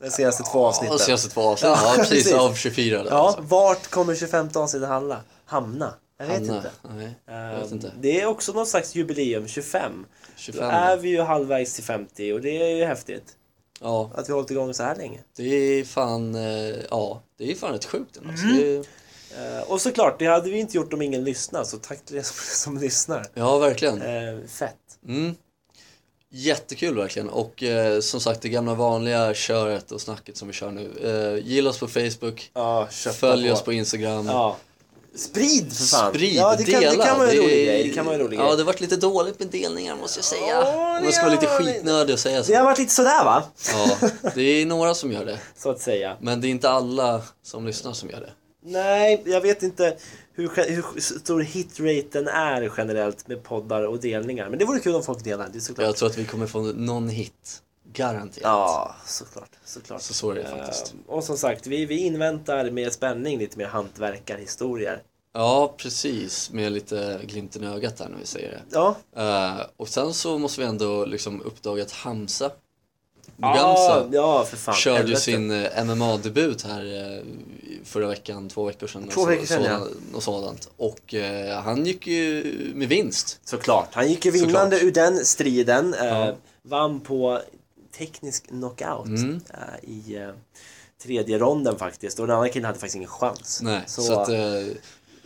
Speaker 2: De senaste två avsnitten.
Speaker 1: Ja, senaste två avsnitt. Ja, precis.
Speaker 2: precis.
Speaker 1: Av 24. Där,
Speaker 2: Ja,
Speaker 1: alltså.
Speaker 2: vart kommer 25 avsnittet hamna? Hamna? Jag vet
Speaker 1: Hanna.
Speaker 2: inte.
Speaker 1: Nej,
Speaker 2: Eh,
Speaker 1: jag vet inte.
Speaker 2: Det är också någon slags jubileum, 25. Då
Speaker 1: 25.
Speaker 2: är vi ju halvvägs till 50 och det är ju häftigt.
Speaker 1: Ja,
Speaker 2: Att vi har hållit igång så här länge.
Speaker 1: det är fan, eh, ja, det är fan rätt sjukt ändå. alltså.
Speaker 2: Mm.
Speaker 1: Det,
Speaker 2: Eh, och såklart, det hade vi inte gjort om ingen lyssnade, så tack till er som, [laughs] som lyssnar.
Speaker 1: ja, verkligen.
Speaker 2: Eh, fett.
Speaker 1: Mm. Jättekul verkligen och eh, som sagt det gamla vanliga köret och snacket som vi kör nu. Eh, gilla oss på Facebook,
Speaker 2: Ja, köpa
Speaker 1: följ oss på Instagram.
Speaker 2: Ja. Sprid för fan!
Speaker 1: Sprid,
Speaker 2: ja, det
Speaker 1: dela.
Speaker 2: kan, det kan vara en
Speaker 1: Det-
Speaker 2: rolig grej. Det kan vara en rolig
Speaker 1: Ja,
Speaker 2: grej.
Speaker 1: det har varit lite dåligt med delningar måste jag säga.
Speaker 2: Ja,
Speaker 1: Om
Speaker 2: det
Speaker 1: jag ska vara lite
Speaker 2: har det.
Speaker 1: skitnödig och säga
Speaker 2: Det
Speaker 1: så.
Speaker 2: har varit lite sådär va?
Speaker 1: Ja, det är några som gör det.
Speaker 2: Så att säga.
Speaker 1: Men det är inte alla som lyssnar som gör det.
Speaker 2: Nej, jag vet inte hur, ge- hur stor hitraten är generellt med poddar och delningar. Men det vore kul om folk delar, det är såklart.
Speaker 1: Jag tror att vi kommer få någon hit. Garanterat.
Speaker 2: Ja, såklart. såklart.
Speaker 1: Så så är det faktiskt.
Speaker 2: Ehm, och som sagt, vi, vi inväntar med spänning lite mer hantverkarhistorier.
Speaker 1: Ja, precis. Med lite glimten i ögat här när vi säger det.
Speaker 2: Ja,
Speaker 1: Eh, och sen så måste vi ändå liksom uppdaga att Hamza
Speaker 2: ja,
Speaker 1: Mugamsa
Speaker 2: ja för fan.
Speaker 1: körde ju
Speaker 2: Ah, helvete.
Speaker 1: sin eh, MMA-debut här eh, i förra veckan, två veckor sedan.
Speaker 2: Två veckor sedan, ja.
Speaker 1: sådant, och sådant. Och eh, han gick ju med vinst.
Speaker 2: Såklart. Han gick ju vinnande
Speaker 1: Såklart.
Speaker 2: ur den striden. eh, Vann på teknisk knockout
Speaker 1: Mm.
Speaker 2: eh, i eh, tredje ronden faktiskt. Och den andra killen hade faktiskt ingen chans.
Speaker 1: Nej, så,
Speaker 2: så
Speaker 1: att,
Speaker 2: eh,
Speaker 1: eh,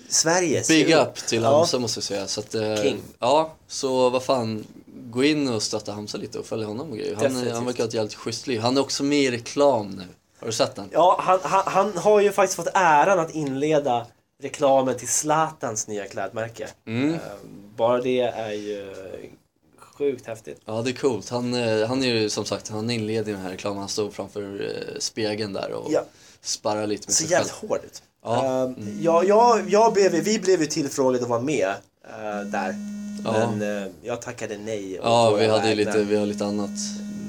Speaker 2: Sverige. ser
Speaker 1: big
Speaker 2: upp.
Speaker 1: up till Hamza måste jag säga. Så att, eh,
Speaker 2: King.
Speaker 1: Ja, så vad fan, gå in och stötta Hamza lite och följ honom och grejer. Han,
Speaker 2: Definitivt.
Speaker 1: han verkar ha ett jävligt schysst liv. Han är också med i reklam nu. Har du sett den?
Speaker 2: Ja, han, han, han har ju faktiskt fått äran att inleda reklamen till Zlatans nya klädmärke.
Speaker 1: Mm.
Speaker 2: Eh, Bara det är ju sjukt häftigt.
Speaker 1: Ja, det är coolt. Han, eh, han är ju som sagt, han inleder den här reklamen. Han står framför eh, spegeln där och
Speaker 2: Ja.
Speaker 1: sparrar lite med
Speaker 2: ser
Speaker 1: sig
Speaker 2: jävligt
Speaker 1: själv.
Speaker 2: hård ut. Eh,
Speaker 1: Ja.
Speaker 2: Ja. jag, jag, jag blev, vi blev ju tillfrågade att vara med eh, där.
Speaker 1: Ja.
Speaker 2: Men eh, jag tackade nej. och
Speaker 1: Ja,
Speaker 2: tog
Speaker 1: vi hade ju
Speaker 2: iväg
Speaker 1: lite,
Speaker 2: den.
Speaker 1: vi har lite annat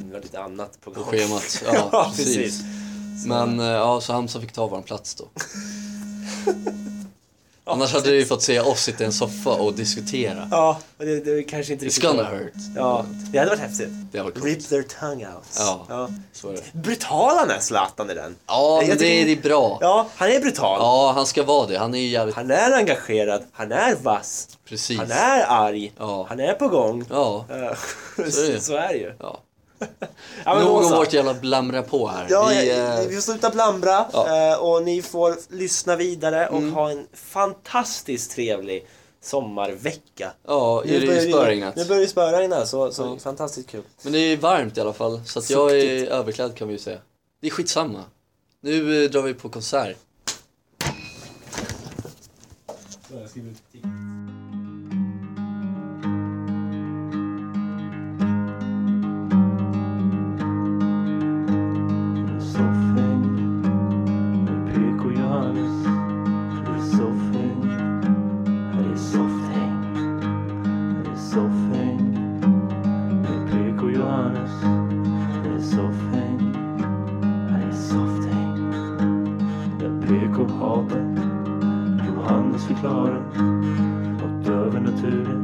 Speaker 2: Det var lite annat på
Speaker 1: på
Speaker 2: gång.
Speaker 1: schemat.
Speaker 2: [laughs] Ja,
Speaker 1: Ja,
Speaker 2: precis.
Speaker 1: precis. Men eh, ja, så Hamza fick ta vår plats
Speaker 2: [laughs]
Speaker 1: då. Annars hade du ju fått se oss sitta i en soffa och diskutera.
Speaker 2: Ja, och det, det kanske inte
Speaker 1: It's
Speaker 2: riktigt...
Speaker 1: gonna
Speaker 2: var-
Speaker 1: hurt.
Speaker 2: Ja, det hade varit häftigt.
Speaker 1: Det var coolt.
Speaker 2: Rip their tongue out.
Speaker 1: Ja. Så är det.
Speaker 2: Brutal han är, Zlatan i den.
Speaker 1: Ja,
Speaker 2: Jag
Speaker 1: men det
Speaker 2: tycker-
Speaker 1: är det är bra.
Speaker 2: Ja, han är brutal.
Speaker 1: Ja, han ska vara det. Han är ju jävligt...
Speaker 2: Han är engagerad, han är vass,
Speaker 1: Precis.
Speaker 2: han är arg,
Speaker 1: Ja.
Speaker 2: han är på gång.
Speaker 1: Ja.
Speaker 2: Eh, [laughs]
Speaker 1: Så är det.
Speaker 2: Så är det ju.
Speaker 1: ja.
Speaker 2: Ja, men
Speaker 1: Nog om
Speaker 2: Åsa.
Speaker 1: vårt jävla blamra på här.
Speaker 2: Ja,
Speaker 1: vi,
Speaker 2: eh,
Speaker 1: eh,
Speaker 2: vi får sluta blamra
Speaker 1: Ja. Mm.
Speaker 2: eh, och ni får lyssna vidare och ha en fantastiskt trevlig sommarvecka.
Speaker 1: ja, är det ju spöregnat.
Speaker 2: Nu börjar det spöregna, så, så fantastiskt kul.
Speaker 1: Men det är varmt i alla fall, så att jag är överklädd kan vi ju säga. Det är skitsamma. Nu eh, drar vi på konsert.
Speaker 3: havet Johannes förklarar något övernaturligt